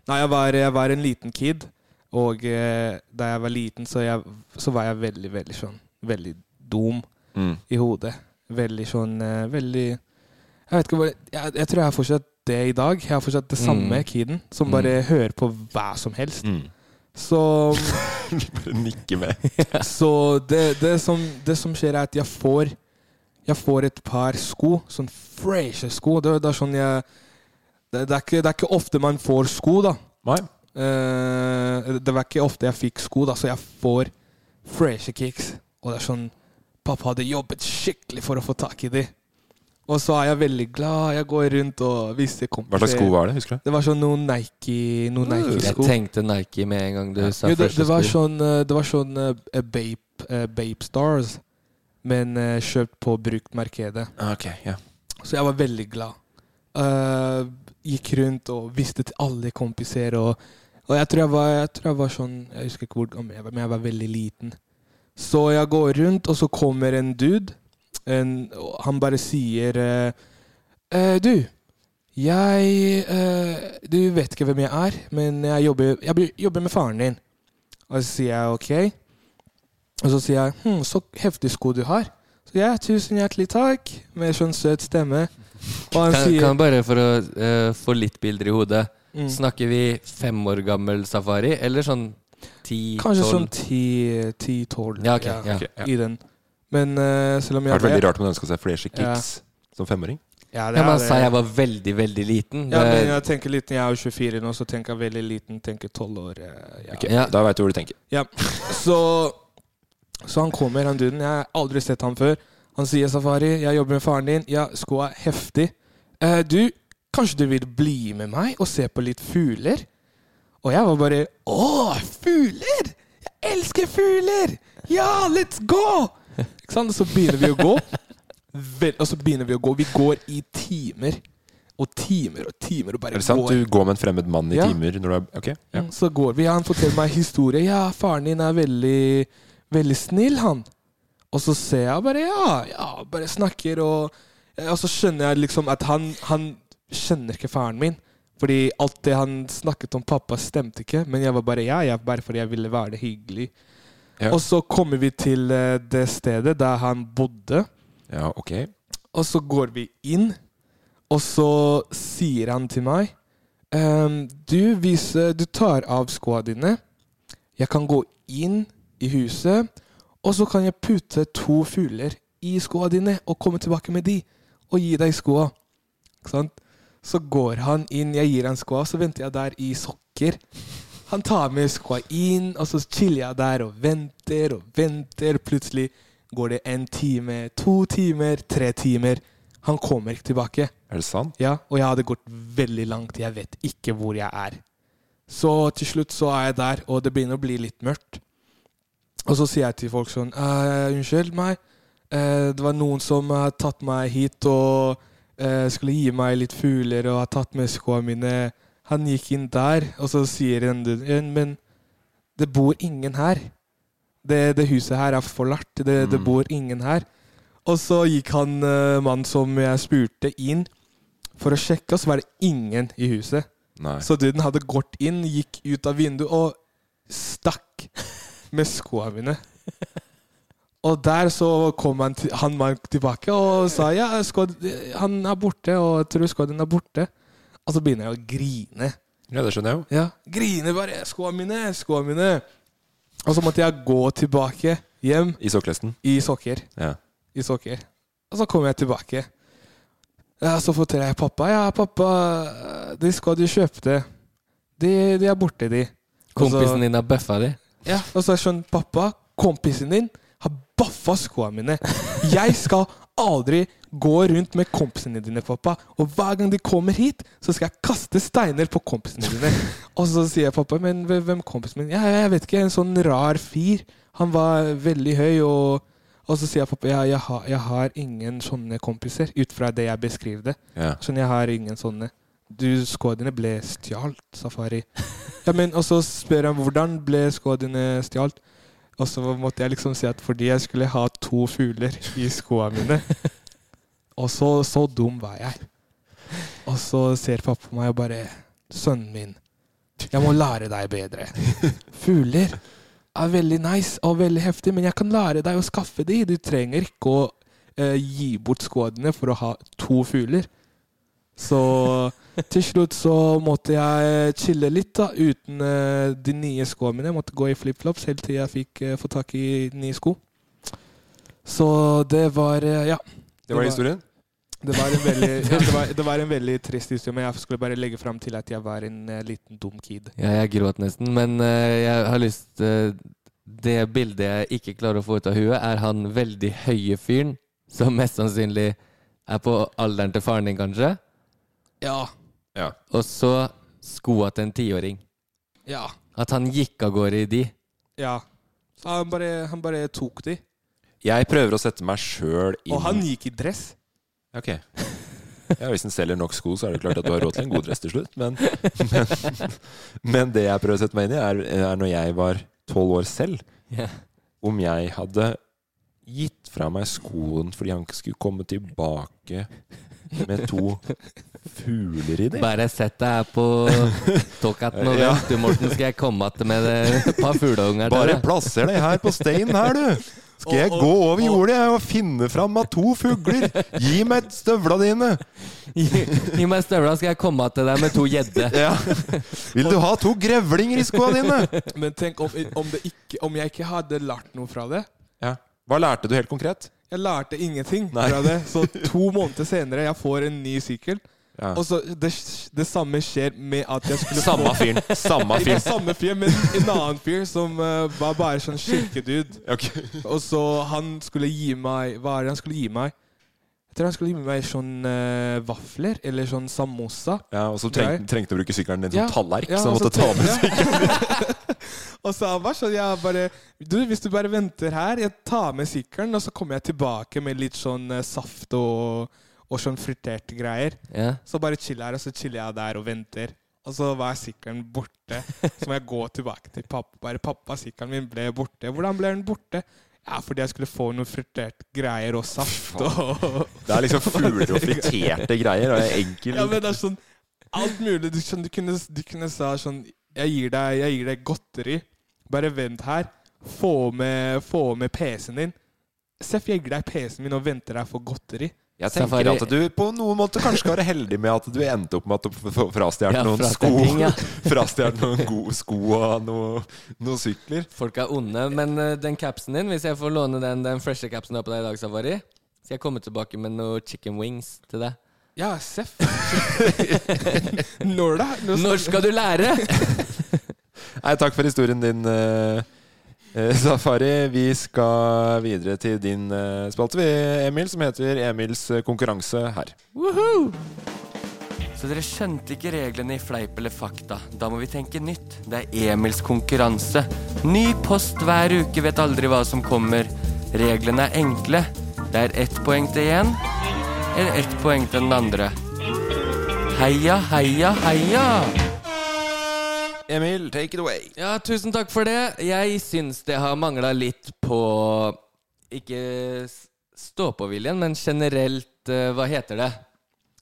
S2: Nei, jeg var, jeg var en liten kid. Og eh, da jeg var liten, så, jeg, så var jeg veldig, veldig sånn Veldig dum
S3: Mm.
S2: i hodet. Veldig sånn eh, Veldig Jeg vet ikke hva jeg, jeg tror jeg er fortsatt det i dag. Jeg er fortsatt det samme
S1: Mm.
S2: kiden som
S1: Mm.
S2: bare hører på hva som helst.
S3: Mm.
S2: Så,
S1: *laughs*
S3: *laughs* Bare nikke med.
S2: så det, det, som, det som skjer, er at jeg får Jeg får et par sko. Sånn freshe sko. Det, det er sånn jeg det, det, er ikke, det er ikke ofte man får sko, da.
S3: Nei.
S2: Eh, det var ikke ofte jeg fikk sko, da, så jeg får freshe kicks. Og det er sånn Pappa hadde jobbet skikkelig for å få tak i de. Og så er jeg veldig glad. Jeg går rundt og viser
S3: Hva
S2: kompiser
S3: slags sko var det? Mm. Husker du?
S2: Det var sånn noen Nike Noen
S1: Jeg
S2: Nike-sko.
S1: tenkte Nike med en gang du sa
S2: Jo, det,
S1: første
S2: det var
S1: sko.
S2: sånn, eh, det var sånn eh, Bape, eh, Bape Stars, men eh, kjøpt på brukt markedet.
S3: Ok, ja.
S2: Så jeg var veldig glad. Eh, gikk rundt og visste til alle kompiser. Og, og jeg, tror jeg, var, jeg tror jeg var sånn Jeg husker ikke hvor gammel jeg var, men jeg var veldig liten. Så jeg går rundt, og så kommer en dude. En, og han bare sier eh, «Eh, Du, jeg eh, Du vet ikke hvem jeg er, men jeg jobber, jeg blir- jobber med faren din. Og så sier jeg OK. Og så sier jeg hm, så heftig sko du har. Så ja, tusen hjertelig takk. Med sånn søt stemme. Og han
S1: Kan,
S2: sier
S1: kan bare for å eh, få litt bilder i hodet
S2: Mm.
S1: Snakker vi fem år gammel safari, eller sånn ti,
S2: Kanskje
S1: tolv?
S2: sånn 10-12
S1: Ja, ok, ja.
S3: Ok, ja.
S2: i den. Men eh, selv om
S3: Det
S2: jeg
S3: har vært veldig rart om du ønska seg flashy kicks som femåring.
S2: Ja, det
S1: Ja, men
S2: er
S1: han sa jeg
S2: det.
S1: var veldig, veldig liten.
S2: Ja,
S1: Det-
S2: men jeg altså- tenker liten. Jeg er jo 24 nå, så tenker jeg veldig liten. Tenker 12 år. eh, ja.
S3: Ok,
S1: Ja.
S3: Da veit du hvor du tenker.
S2: Ja. Så, så han kommer, han duden. Jeg har aldri sett ham før. Han sier 'Safari, jeg jobber med faren din. Ja, skoa er heftig. Eh, du, kanskje du vil bli med meg og se på litt fugler?' Og jeg var bare 'Å, fugler! Jeg elsker fugler! Ja, let's go!' Ikke sant? Og så begynner vi å gå. Vel, og så begynner vi å gå. Vi går i timer og timer og timer og bare
S3: Er det sant?
S2: går.
S3: Du går med en fremmed mann i
S2: Ja.
S3: timer når du er Ok. Ja.
S2: Så går vi, ja, han forteller meg historie. Ja, faren din er veldig, veldig snill, han. Og så ser jeg bare, ja, ja, bare snakker, og, og så skjønner jeg liksom at han, han kjenner ikke faren min. Fordi alt det han snakket om pappa stemte ikke, men jeg var bare, ja, jeg, bare fordi jeg ville være hyggelig.
S3: Ja.
S2: Og så kommer vi til eh, det stedet der han bodde.
S3: ja, ok.
S2: Og så går vi inn, og så sier han til meg ehm, du, hvis eh, du tar av skoene dine, jeg kan gå inn i huset, og så kan jeg putte to fugler i skoene dine og komme tilbake med de og gi deg skoene. Ikke sant? Så går han inn, jeg gir han skoene, så venter jeg der i sokker. Han tar med skoa inn, og så chiller jeg der og venter og venter. Plutselig går det en time, to timer, tre timer. Han kommer ikke tilbake.
S3: Er det sant?
S2: Ja, Og jeg hadde gått veldig langt. Jeg vet ikke hvor jeg er. Så til slutt så er jeg der, og det begynner å bli litt mørkt. Og så sier jeg til folk sånn «Eh, Unnskyld meg, eh, det var noen som har tatt meg hit og eh, skulle gi meg litt fugler og har tatt med skoene mine. Han gikk inn der, og så sier den duden «Ja, Men det bor ingen her. Det, det huset her er forlatt. Det, det
S3: Mm.
S2: bor ingen her. Og så gikk han eh, mannen som jeg spurte, inn for å sjekke, og så var det ingen i huset.
S3: Nei.
S2: Så duden hadde gått inn, gikk ut av vinduet og stakk med skoene mine. Og der så kom han, til, han var tilbake og sa ja, skoa- han er borte, og jeg tror skoa din er borte. Og så begynner jeg å grine.
S3: Ja, det skjønner jeg jo.
S2: Ja, Grine bare. Skoa mine, skoa mine. Og så måtte jeg gå tilbake hjem
S3: I sokkelesten.
S2: i sokker
S3: Ja.
S2: i sokker. Og så kommer jeg tilbake. Ja, så forteller jeg pappa. Ja, pappa, de skal du kjøpte. De, de er borte, de. Og så-
S1: Kompisen din har bøffa di.
S2: Ja, og så er jeg sånn, pappa, kompisen din har baffa skoene mine. Jeg skal aldri gå rundt med kompisene dine, pappa. Og hver gang de kommer hit, så skal jeg kaste steiner på kompisene dine. Og så sier pappa, men hve- hvem kompisen min? Ja, jeg vet ikke, en sånn rar fyr. Han var veldig høy og og så sier jeg pappa ja, jeg, har, jeg har ingen sånne kompiser, ut fra det jeg beskriver det.
S3: Ja.
S2: Sånn, jeg har ingen sånne. du, skoene dine ble stjålet, Safari. Ja, men, og så spør han hvordan ble skoene dine stjålet. Og så måtte jeg liksom si at fordi jeg skulle ha to fugler i skoene mine. Og så, så dum var jeg. Og så ser pappa på meg og bare Sønnen min, jeg må lære deg bedre. Fugler er veldig nice og veldig heftig, men jeg kan lære deg å skaffe de. Du trenger ikke å eh, gi bort skoene for å ha to fugler. Så til slutt så måtte jeg chille litt da, uten eh, de nye skoene mine. Jeg måtte gå i flipflops helt til jeg fikk eh, få tak i nye sko. Så det var eh, Ja.
S3: Det var historien.
S2: Det var, en
S3: *laughs*
S1: *laughs*
S2: veldig, det, var, det var en veldig trist historie, men jeg skulle bare legge fram til at jeg var en eh, liten dum kid.
S1: Ja, jeg gråt nesten, men eh, jeg har lyst eh, Det bildet jeg ikke klarer å få ut av huet, er han veldig høye fyren som mest sannsynlig er på alderen til faren din, kanskje.
S2: Ja.
S3: Ja.
S1: Og så skoa til en tiåring.
S2: Ja.
S1: At han gikk av gårde i de.
S2: ja. Så han bare, han bare tok de.
S3: Jeg prøver å sette meg sjøl inn
S2: Og han gikk i dress.
S3: Ok. Ja, Hvis en selger nok sko, så er det klart at du har råd til en god dress til slutt. Men, men, men det jeg prøver å sette meg inn i, er, er når jeg var tolv år selv,
S1: Ja.
S3: om jeg hadde gitt fra meg skoen fordi han ikke skulle komme tilbake med to fugler i dem.
S1: Bare sett deg her på Talkaten
S3: *laughs*
S1: og
S3: Ja.
S1: vent, du, Morten, skal jeg komme att med det- et par fugleunger. til
S3: Bare
S1: deg.
S3: plasser deg her på steinen her, du. Skal jeg gå over jordet jeg, og finne fram av to fugler? Gi meg støvla dine!
S1: Gi, gi meg støvla, skal jeg komme att til deg med to gjedde.
S3: *laughs* Ja. Vil du ha to grevlinger i skoa dine?
S2: Men tenk om, om, det ikke, om jeg ikke hadde lært noe fra det.
S3: Ja. Hva lærte du helt konkret?
S2: Jeg lærte ingenting
S3: Nei.
S2: fra det. Så to måneder senere jeg får en ny sykkel.
S3: Ja.
S2: Og så det, det samme skjer med at jeg skulle få
S3: Samme fyren. Samme
S2: Ikke
S3: fyren.
S2: samme fyr, men en annen fyr som eh, var bare sånn kirkedude. Og så han skulle gi meg Hva er det han skulle gi meg? Jeg tror han skulle gi meg sånn eh, vafler, eller sånn samosa.
S3: Ja, og så trengte, trengte å bruke sykkelen din som
S2: Ja.
S3: tallerk,
S2: *laughs* Ja,
S3: så han
S2: og
S3: måtte ta med
S2: tenkte jeg- *laughs* og så han var sånn, jeg bare Du, hvis du bare venter her, jeg tar med sykkelen, og så kommer jeg tilbake med litt sånn eh, saft og, og sånn friterte greier.
S1: Ja.
S2: Så bare chill her, og så chiller jeg der og venter. Og så var sykkelen borte. Så må jeg gå tilbake til pappa. Bare pappa, sykkelen min ble borte. Hvordan ble den borte? Ja, fordi jeg skulle få noe fritert greier og saft og
S3: Det er liksom fugler og friterte greier. Og enkel
S2: Ja, men det er sånn alt mulig. Du, skjønner, du, kunne, du kunne sa sånn jeg gir, deg, jeg gir deg godteri. Bare vent her. Få med, få med PC-en din. Seff, jeg gir deg PC-en min og venter deg for godteri.
S3: Jeg tenker
S1: Safari-
S3: at du på noen måter kanskje skal være heldig med at du endte opp med at du f- frastjal
S1: Ja,
S3: noen sko.
S1: frastjal ting, ja.
S3: *laughs* Frastjal noen gode sko og noe, noen sykler.
S1: Folk er onde, men eh, den capsen din, hvis jeg får låne den, den freshe capsen du har på deg i dag, Safari, skal jeg komme tilbake med noe chicken wings til deg.
S2: Ja, seff. Når da? Når
S1: Når skal du lære?
S3: Nei, takk for historien din, eh, eh, Safari. Vi skal videre til din eh, spalte, vi, Emil, som heter Emils eh, konkurranse her.
S1: Så dere skjønte ikke reglene i Fleip eller fakta. Da må vi tenke nytt. Det er Emils konkurranse. Ny post hver uke, vet aldri hva som kommer. Reglene er enkle. Det er ett poeng til én, eller ett poeng til den andre. Heia, heia, heia!
S3: Emil, take it away.
S1: Ja, tusen takk for det. Jeg syns det har mangla litt på Ikke stå-på-viljen, men generelt eh, Hva heter det?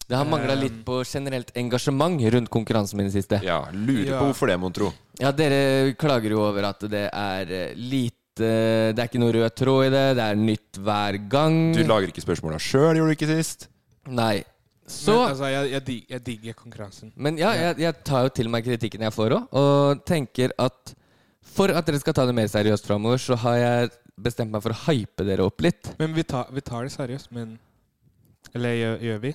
S1: Det har mangla litt på generelt engasjement rundt konkurransen min i det siste.
S3: Ja, lurer
S2: Ja.
S3: på hvorfor det, mon tro.
S1: Ja, dere klager jo over at det er eh, lite eh, Det er ikke noe rød tråd i det. Det er nytt hver gang.
S3: Du lager ikke spørsmåla sjøl, gjorde du ikke sist?
S1: Nei. Så
S2: Men, altså, jeg, jeg, dig, jeg digger konkurransen.
S1: Men ja, jeg, jeg tar jo til meg kritikken jeg får òg, og tenker at for at dere skal ta det mer seriøst framover, så har jeg bestemt meg for å hype dere opp litt.
S2: Men vi tar, vi tar det seriøst, men Eller gjør, gjør vi?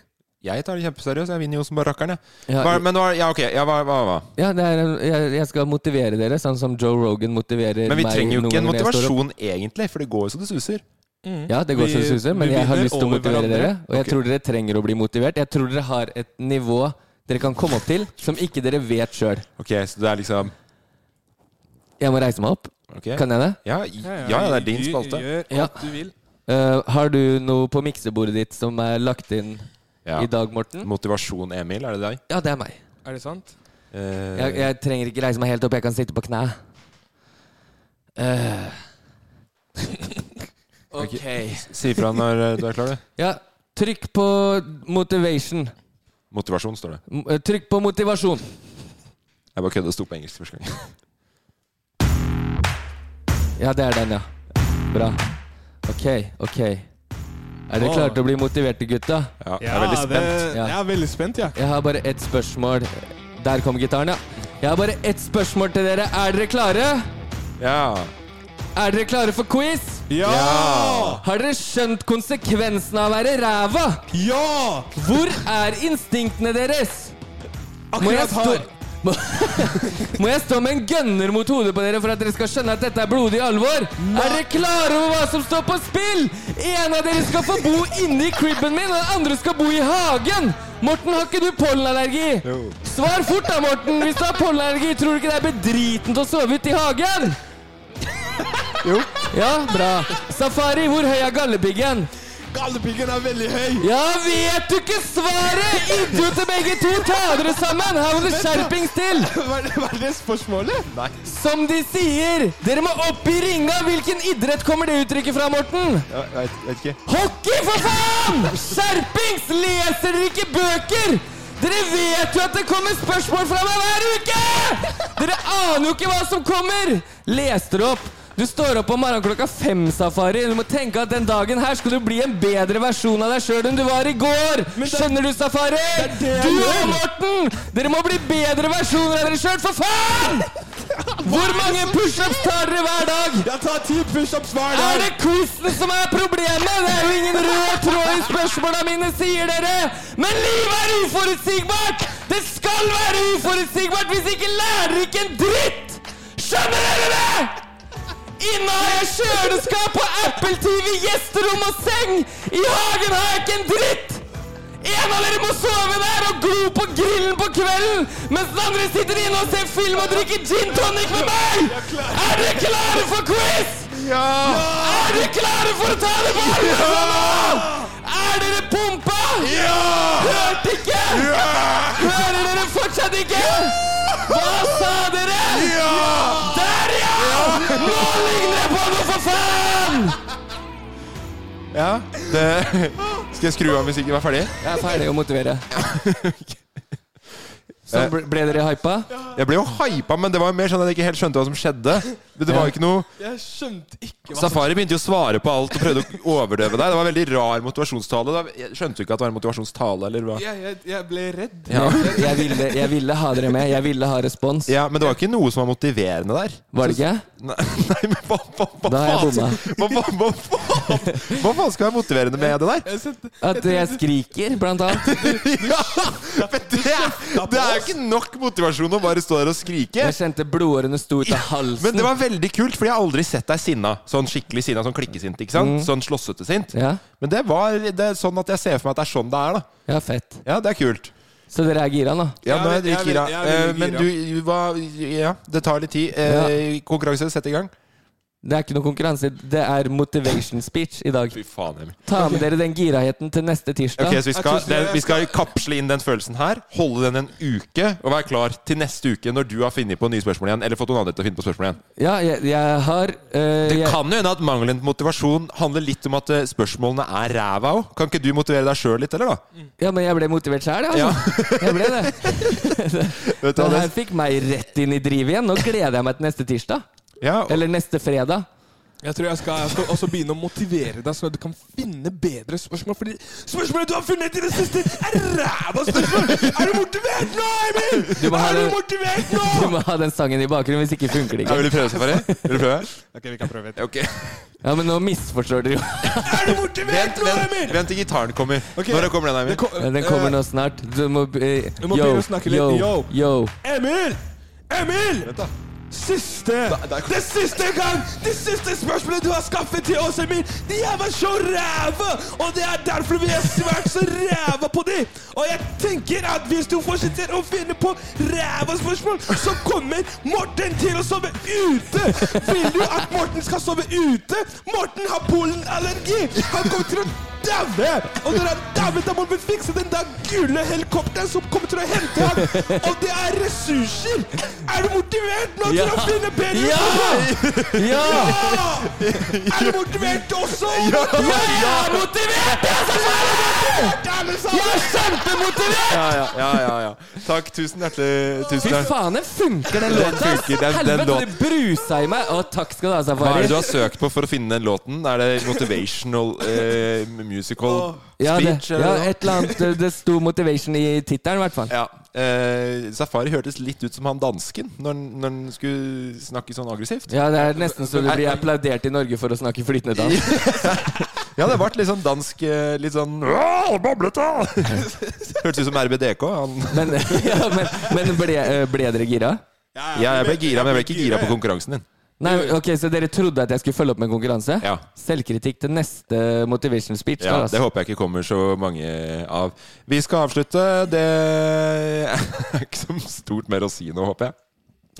S3: Jeg tar det kjempeseriøst. Jeg vinner jo som bare rakkeren, jeg.
S1: Ja,
S3: Hva- Men hva Ja, ok. Ja, hva, hva, hva?
S1: ja, det er, jeg, jeg skal motivere dere, sånn som Joe Rogan motiverer
S3: Men vi
S1: meg
S3: trenger jo
S1: noen
S3: ikke en
S1: ganger når jeg står opp.
S3: motivasjon egentlig, for det går jo så det suser.
S1: Ja, det går
S2: Vi-
S1: så det suser, men
S2: vi
S1: jeg har
S2: vinner
S1: lyst til å
S2: over
S1: motivere
S2: hverandre.
S1: dere. Og jeg tror dere trenger å bli motivert. Jeg tror dere har et nivå dere kan komme opp til, som ikke dere vet sjøl.
S3: Ok, så det er liksom
S1: Jeg må reise meg opp.
S3: Ok.
S1: Kan jeg det?
S3: Ja, ja, ja, det er din
S2: Gjør-
S3: spalte.
S2: Gjør alt
S1: Ja.
S2: du vil.
S1: Eh, har du noe på miksebordet ditt som er lagt inn
S3: Ja.
S7: i dag, Morten.
S3: Motivasjon, Emil, er det deg?
S7: Ja, det er meg.
S8: Er det sant?
S3: Eh,
S7: Jeg, jeg trenger ikke reise meg helt opp, jeg kan sitte på knæ.
S1: *laughs*
S7: Eh. ok.
S3: Si ifra når eh, du er klar, du.
S7: Ja, trykk på motivation.
S3: Motivasjon, står det.
S7: M- eh, Trykk på motivasjon.
S3: Jeg bare kødda, det sto på engelsk første gang. *laughs*
S7: Ja, det er den, ja. Bra. Ok, ok. Er dere klare til å bli motiverte, gutta?
S3: Ja, jeg er veldig spent.
S8: Det,
S7: Ja.
S8: Jeg er veldig spent, jeg.
S7: Jeg har bare ett spørsmål. Der kom gitaren, ja. Jeg har bare ett spørsmål til dere. Er dere klare?
S3: Ja.
S7: Er dere klare for quiz?
S8: Ja!
S7: Har dere skjønt konsekvensen av å være ræva?
S8: Ja!
S7: Hvor er instinktene deres? Må jeg
S8: Akkurat
S7: stå
S8: her.
S7: må, må *laughs* jeg stå med en gønner mot hodet på dere for at dere skal skjønne at dette er blodig alvor? Er dere klare over hva som står på spill? En av dere skal få bo inni cribben min, og den andre skal bo i hagen. Morten, har ikke du pollenallergi? Svar fort da, Morten. Hvis du har pollenallergi, tror du ikke det er bedritent å sove ute i hagen? Jo. Ja, bra. Safari, hvor høy er gallepiggen?
S8: Gallepiggen er veldig høy. *laughs*
S7: Ja, vet du ikke svaret! Idioter begge to! Ta dere sammen! Her må det skjerpings til!
S8: Hva er det, hva er det spørsmålet? Nei.
S7: Som de sier, dere må opp i ringa! Hvilken idrett kommer det uttrykket fra, Morten?
S3: Jeg vet, vet ikke.
S7: Hockey, for faen! Skjerpings! Leser dere ikke bøker? Dere vet jo at det kommer spørsmål fra meg hver uke! Dere aner jo ikke hva som kommer! Les dere opp. Du står opp om morgenen klokka fem, Safari. Du må tenke at den dagen her skal du bli en bedre versjon av deg sjøl enn du var i går. Skjønner du, Safari?
S8: det jeg
S7: du og
S8: gjør.
S7: Morten, dere må bli bedre versjoner av dere sjøl, for
S8: *laughs*
S7: faen! Hvor mange pushups tar dere hver dag?
S8: Jeg tar ti pushups hver
S7: Er
S8: dag.
S7: det quizen som er problemet? Det er jo ingen rød tråd i spørsmåla mine, sier dere. Men livet er uforutsigbart! Det skal være uforutsigbart hvis ikke lærer ikke en dritt! Skjønner dere det? Inne har jeg kjøleskap og Apple TV, gjesterom og seng. I hagen har jeg ikke en dritt! En av dere må sove der og glo på grillen på kvelden, mens den andre sitter inne og ser film og drikker gin tonic med meg! Er dere klare for quiz? Er dere klare for å ta det på alvor? nå? Er dere pumpa? Ja! Hørte ikke? Hører dere fortsatt ikke? Hva sa dere? Der, ja! Nå ligner det på noe, for faen!
S3: Ja, det Skal jeg skru av musikken og være ferdig?
S7: Jeg er ferdig å motivere. Så ble, ble dere hypa?
S3: Eh, Jeg ble jo hypa, men det var jo mer sånn at jeg ikke helt skjønte hva som skjedde. Det var jo ikke noe
S8: Jeg skjønte ikke hva
S3: Safari begynte jo å svare på alt og prøvde å overdøve deg. Det var en veldig rar motivasjonstale. Da- Jeg skjønte jo ikke at det var en motivasjonstale, eller hva?
S8: jeg, jeg, jeg ble redd.
S7: Jeg, jeg, ville, jeg ville ha dere med. Jeg ville ha respons.
S3: Ja, men det var ikke noe som var motiverende der.
S7: Var det ikke?
S3: Nei, nei men hva, hva, hva,
S7: Da har jeg
S3: faen- Hva, hva, hva, faen- hva faen skal være motiverende med det der?
S8: Jeg sendte-
S7: At jeg skriker, blant annet.
S8: Eh,
S3: Ja, men det, er- det er jo ikke nok motivasjon å bare stå der og skrike.
S7: Jeg kjente blodårene sto ut av
S3: Men det
S7: halsen.
S3: var veldig kult, Fordi jeg har aldri sett deg sinna. Sånn skikkelig sinna, sånn klikkesint. ikke sant?
S7: Mm.
S3: Sånn slåssete sint.
S7: Ja.
S3: Men det var det er sånn at jeg ser for meg at det er sånn det er. da
S7: Ja, fett.
S3: Ja, det er kult.
S7: Så dere er gira nå?
S3: Ja,
S8: Jeg
S3: nå
S8: er
S3: er jeg
S8: veldig- jeg er
S3: dritgira.
S8: veldig- jeg er
S3: Eh,
S8: veldig
S3: Men
S8: gira.
S3: du hva Ja, det tar litt tid. Eh, Konkurranse, sett i gang.
S7: Det er ikke noe konkurranse. Det er motivation speech i dag.
S3: Fy faen, Emil.
S7: Ta med dere den giraheten til neste tirsdag.
S3: Ok, så vi skal,
S8: Jeg tror ikke
S3: den,
S8: jeg-
S3: vi skal kapsle inn den følelsen her, holde den en uke, og være klar til neste uke når du har funnet på nye spørsmål igjen. Eller fått noen andre til å finne på spørsmål igjen.
S7: Ja, jeg, jeg har eh,
S3: Det
S7: jeg,
S3: kan jo hende at mangelen på motivasjon handler litt om at eh, spørsmålene er ræva òg. Kan ikke du motivere deg sjøl litt, eller da?
S7: Ja, men jeg ble motivert sjæl, jeg. Altså. *laughs* jeg ble
S8: *laughs*
S7: det.
S3: Vet du
S7: Den
S3: hva
S7: her
S3: det
S7: fikk meg rett inn i drivet igjen. Nå gleder jeg meg til neste tirsdag.
S3: Ja, og-
S7: Eller neste fredag.
S8: Jeg tror jeg skal, jeg skal også begynne å motivere deg, sånn at du kan finne bedre spørsmål. Fordi spørsmålet du har funnet i det siste, er ræva spørsmål! Er du motivert nå, Emil?!
S7: Du må ha
S8: er du
S7: den-
S8: motivert
S7: Du
S8: nå?!
S7: må ha den sangen i bakgrunnen, hvis ikke funker det
S3: Ja,
S7: ikke.
S3: vil du prøve, Safari? Vil du prøve?
S8: Ok, vi kan prøve
S3: Ok.
S7: Ja, men nå misforstår dere jo.
S8: Er du motivert
S3: Vent,
S8: nå,
S3: vent,
S8: Emil?!
S3: vent til gitaren kommer.
S8: Ok.
S3: Når kommer den, Emil?
S8: Det kom-
S7: Ja, Den kommer nå snart. Du må, eh,
S8: Eh. Du må begynne å snakke litt.
S7: Yo,
S8: Yo.
S7: yo.
S8: Emil! Emil! Siste! Det siste gang! Det siste spørsmålet du har skaffet til oss, Emil! De her var så ræva! Og det er derfor vi har vært så ræva på dem! Og jeg tenker at hvis du fortsetter å finne på ræva spørsmål, så kommer Morten til å sove ute! Vil du at Morten skal sove ute? Morten har pollenallergi! Han kommer til å daue! Og når han dauer, da må vi fikse den der gule helikopteren som kommer til å hente ham! Og det er ressurser! Er du motivert nå til å finne bedre
S1: Ja!
S8: *laughs*
S1: Ja!
S8: Ja! Er du motivert også? Ja! Jeg er motivert! Jeg er motivert, alle sammen! Jeg er kjempemotivert!
S3: Ja, ja, ja, ja, ja. Takk. Tusen hjertelig tusen
S1: Fy
S3: hjertelig.
S1: faen, den funker, den
S3: Den
S1: låta! ass.
S3: funker, den- den
S1: Helvete,
S3: låt-
S1: det brusa i meg! Å, takk skal du ha, altså,
S3: Hva er
S1: Safari.
S3: det du har søkt på for å finne den låten? Er det motivational eh, musical
S1: Ja, det,
S3: speech?
S1: ja,
S3: eller noe?
S1: et eller annet. Det- Det sto motivation i tittelen, i hvert fall.
S3: Ja. Eh, Safari hørtes litt ut som han dansken når, han- når han skulle snakke sånn aggressivt.
S1: Ja, det er nesten så du blir applaudert i Norge for å snakke flytende dansk.
S3: *laughs* Ja, det ble litt sånn dansk eh, Litt sånn «Åh, Bablete! Hørtes ut som RBDK. Han,
S1: Men, ja, men, men ble, eh, ble dere gira?
S3: ja, jeg ble gira, men jeg ble ikke gira på konkurransen din.
S1: Nei, ok, Så dere trodde at jeg skulle følge opp med en konkurranse?
S3: Ja.
S1: Selvkritikk til neste motivation speech.
S3: Ja,
S1: da,
S3: Det
S1: altså.
S3: håper jeg ikke kommer så mange av. Vi skal avslutte. Det *laughs* er ikke så stort mer å si nå, håper jeg.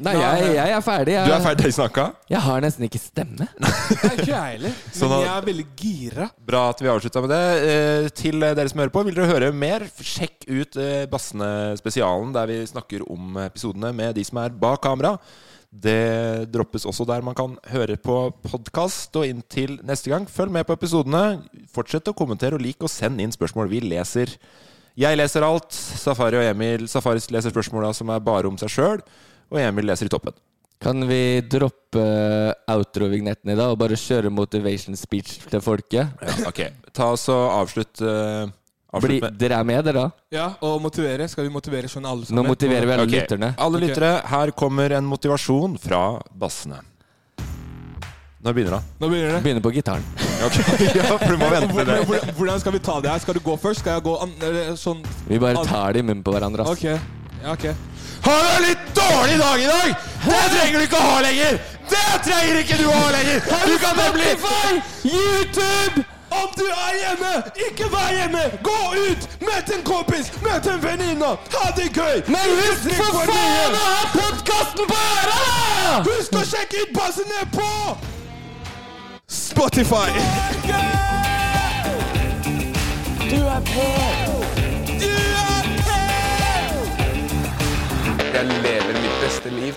S1: Nei, jeg, jeg er ferdig. Jeg,
S3: Du er ferdig snakka?
S1: jeg har nesten ikke stemme.
S8: Ikke jeg heller.
S3: Sånn
S8: Men
S3: at-
S8: jeg er veldig gira.
S3: Bra at vi avslutta med det. Eh, Til dere som hører på, vil dere høre mer, sjekk ut eh, Bassene-spesialen der vi snakker om episodene med de som er bak kamera. Det droppes også der man kan høre på podkast. Og inntil neste gang, følg med på episodene. Fortsett å kommentere og like, og send inn spørsmål. Vi leser. Jeg leser alt. Safari og Emil Safari leser spørsmåla som er bare om seg sjøl. Og Emil leser i toppen.
S1: Kan vi droppe eh, outro-vignetten i dag og bare kjøre motivation speech til folket?
S3: Ok, ta oss og avslutt. eh,
S1: Bli,
S3: avslutt med
S1: dere er med, dere? da?
S8: Ja, og motivere. Skal vi motivere sånn alle
S1: Nå
S8: sammen?
S1: motiverer vi alle
S3: Ok,
S1: lytterne.
S3: Alle
S8: Ok.
S3: lyttere, her kommer en motivasjon fra bassene. Nå begynner *laughs* han.
S8: Nå begynner det.
S1: Begynner på gitaren.
S3: ja, for du må vente med
S8: Hvordan-
S3: det.
S8: Hvordan, hvordan skal vi ta det her? Skal du gå først? Skal jeg gå an eller sånn?
S1: Vi bare tar det i munnen på hverandre. ass.
S8: Ok. Ja, ok.
S3: Har du en litt dårlig dag i dag? Det trenger du ikke å ha lenger! Det trenger ikke du å ha lenger! Du kan nemlig
S8: YouTube! Om du er hjemme, ikke vær hjemme! Gå ut! Møt en kompis! Møt en venninne! Ha det gøy! Men husk for faen å ha podkasten på øra! Husk å sjekke ut bassene på Spotify! Du er på! Du er på!
S9: Jeg lever mitt beste liv.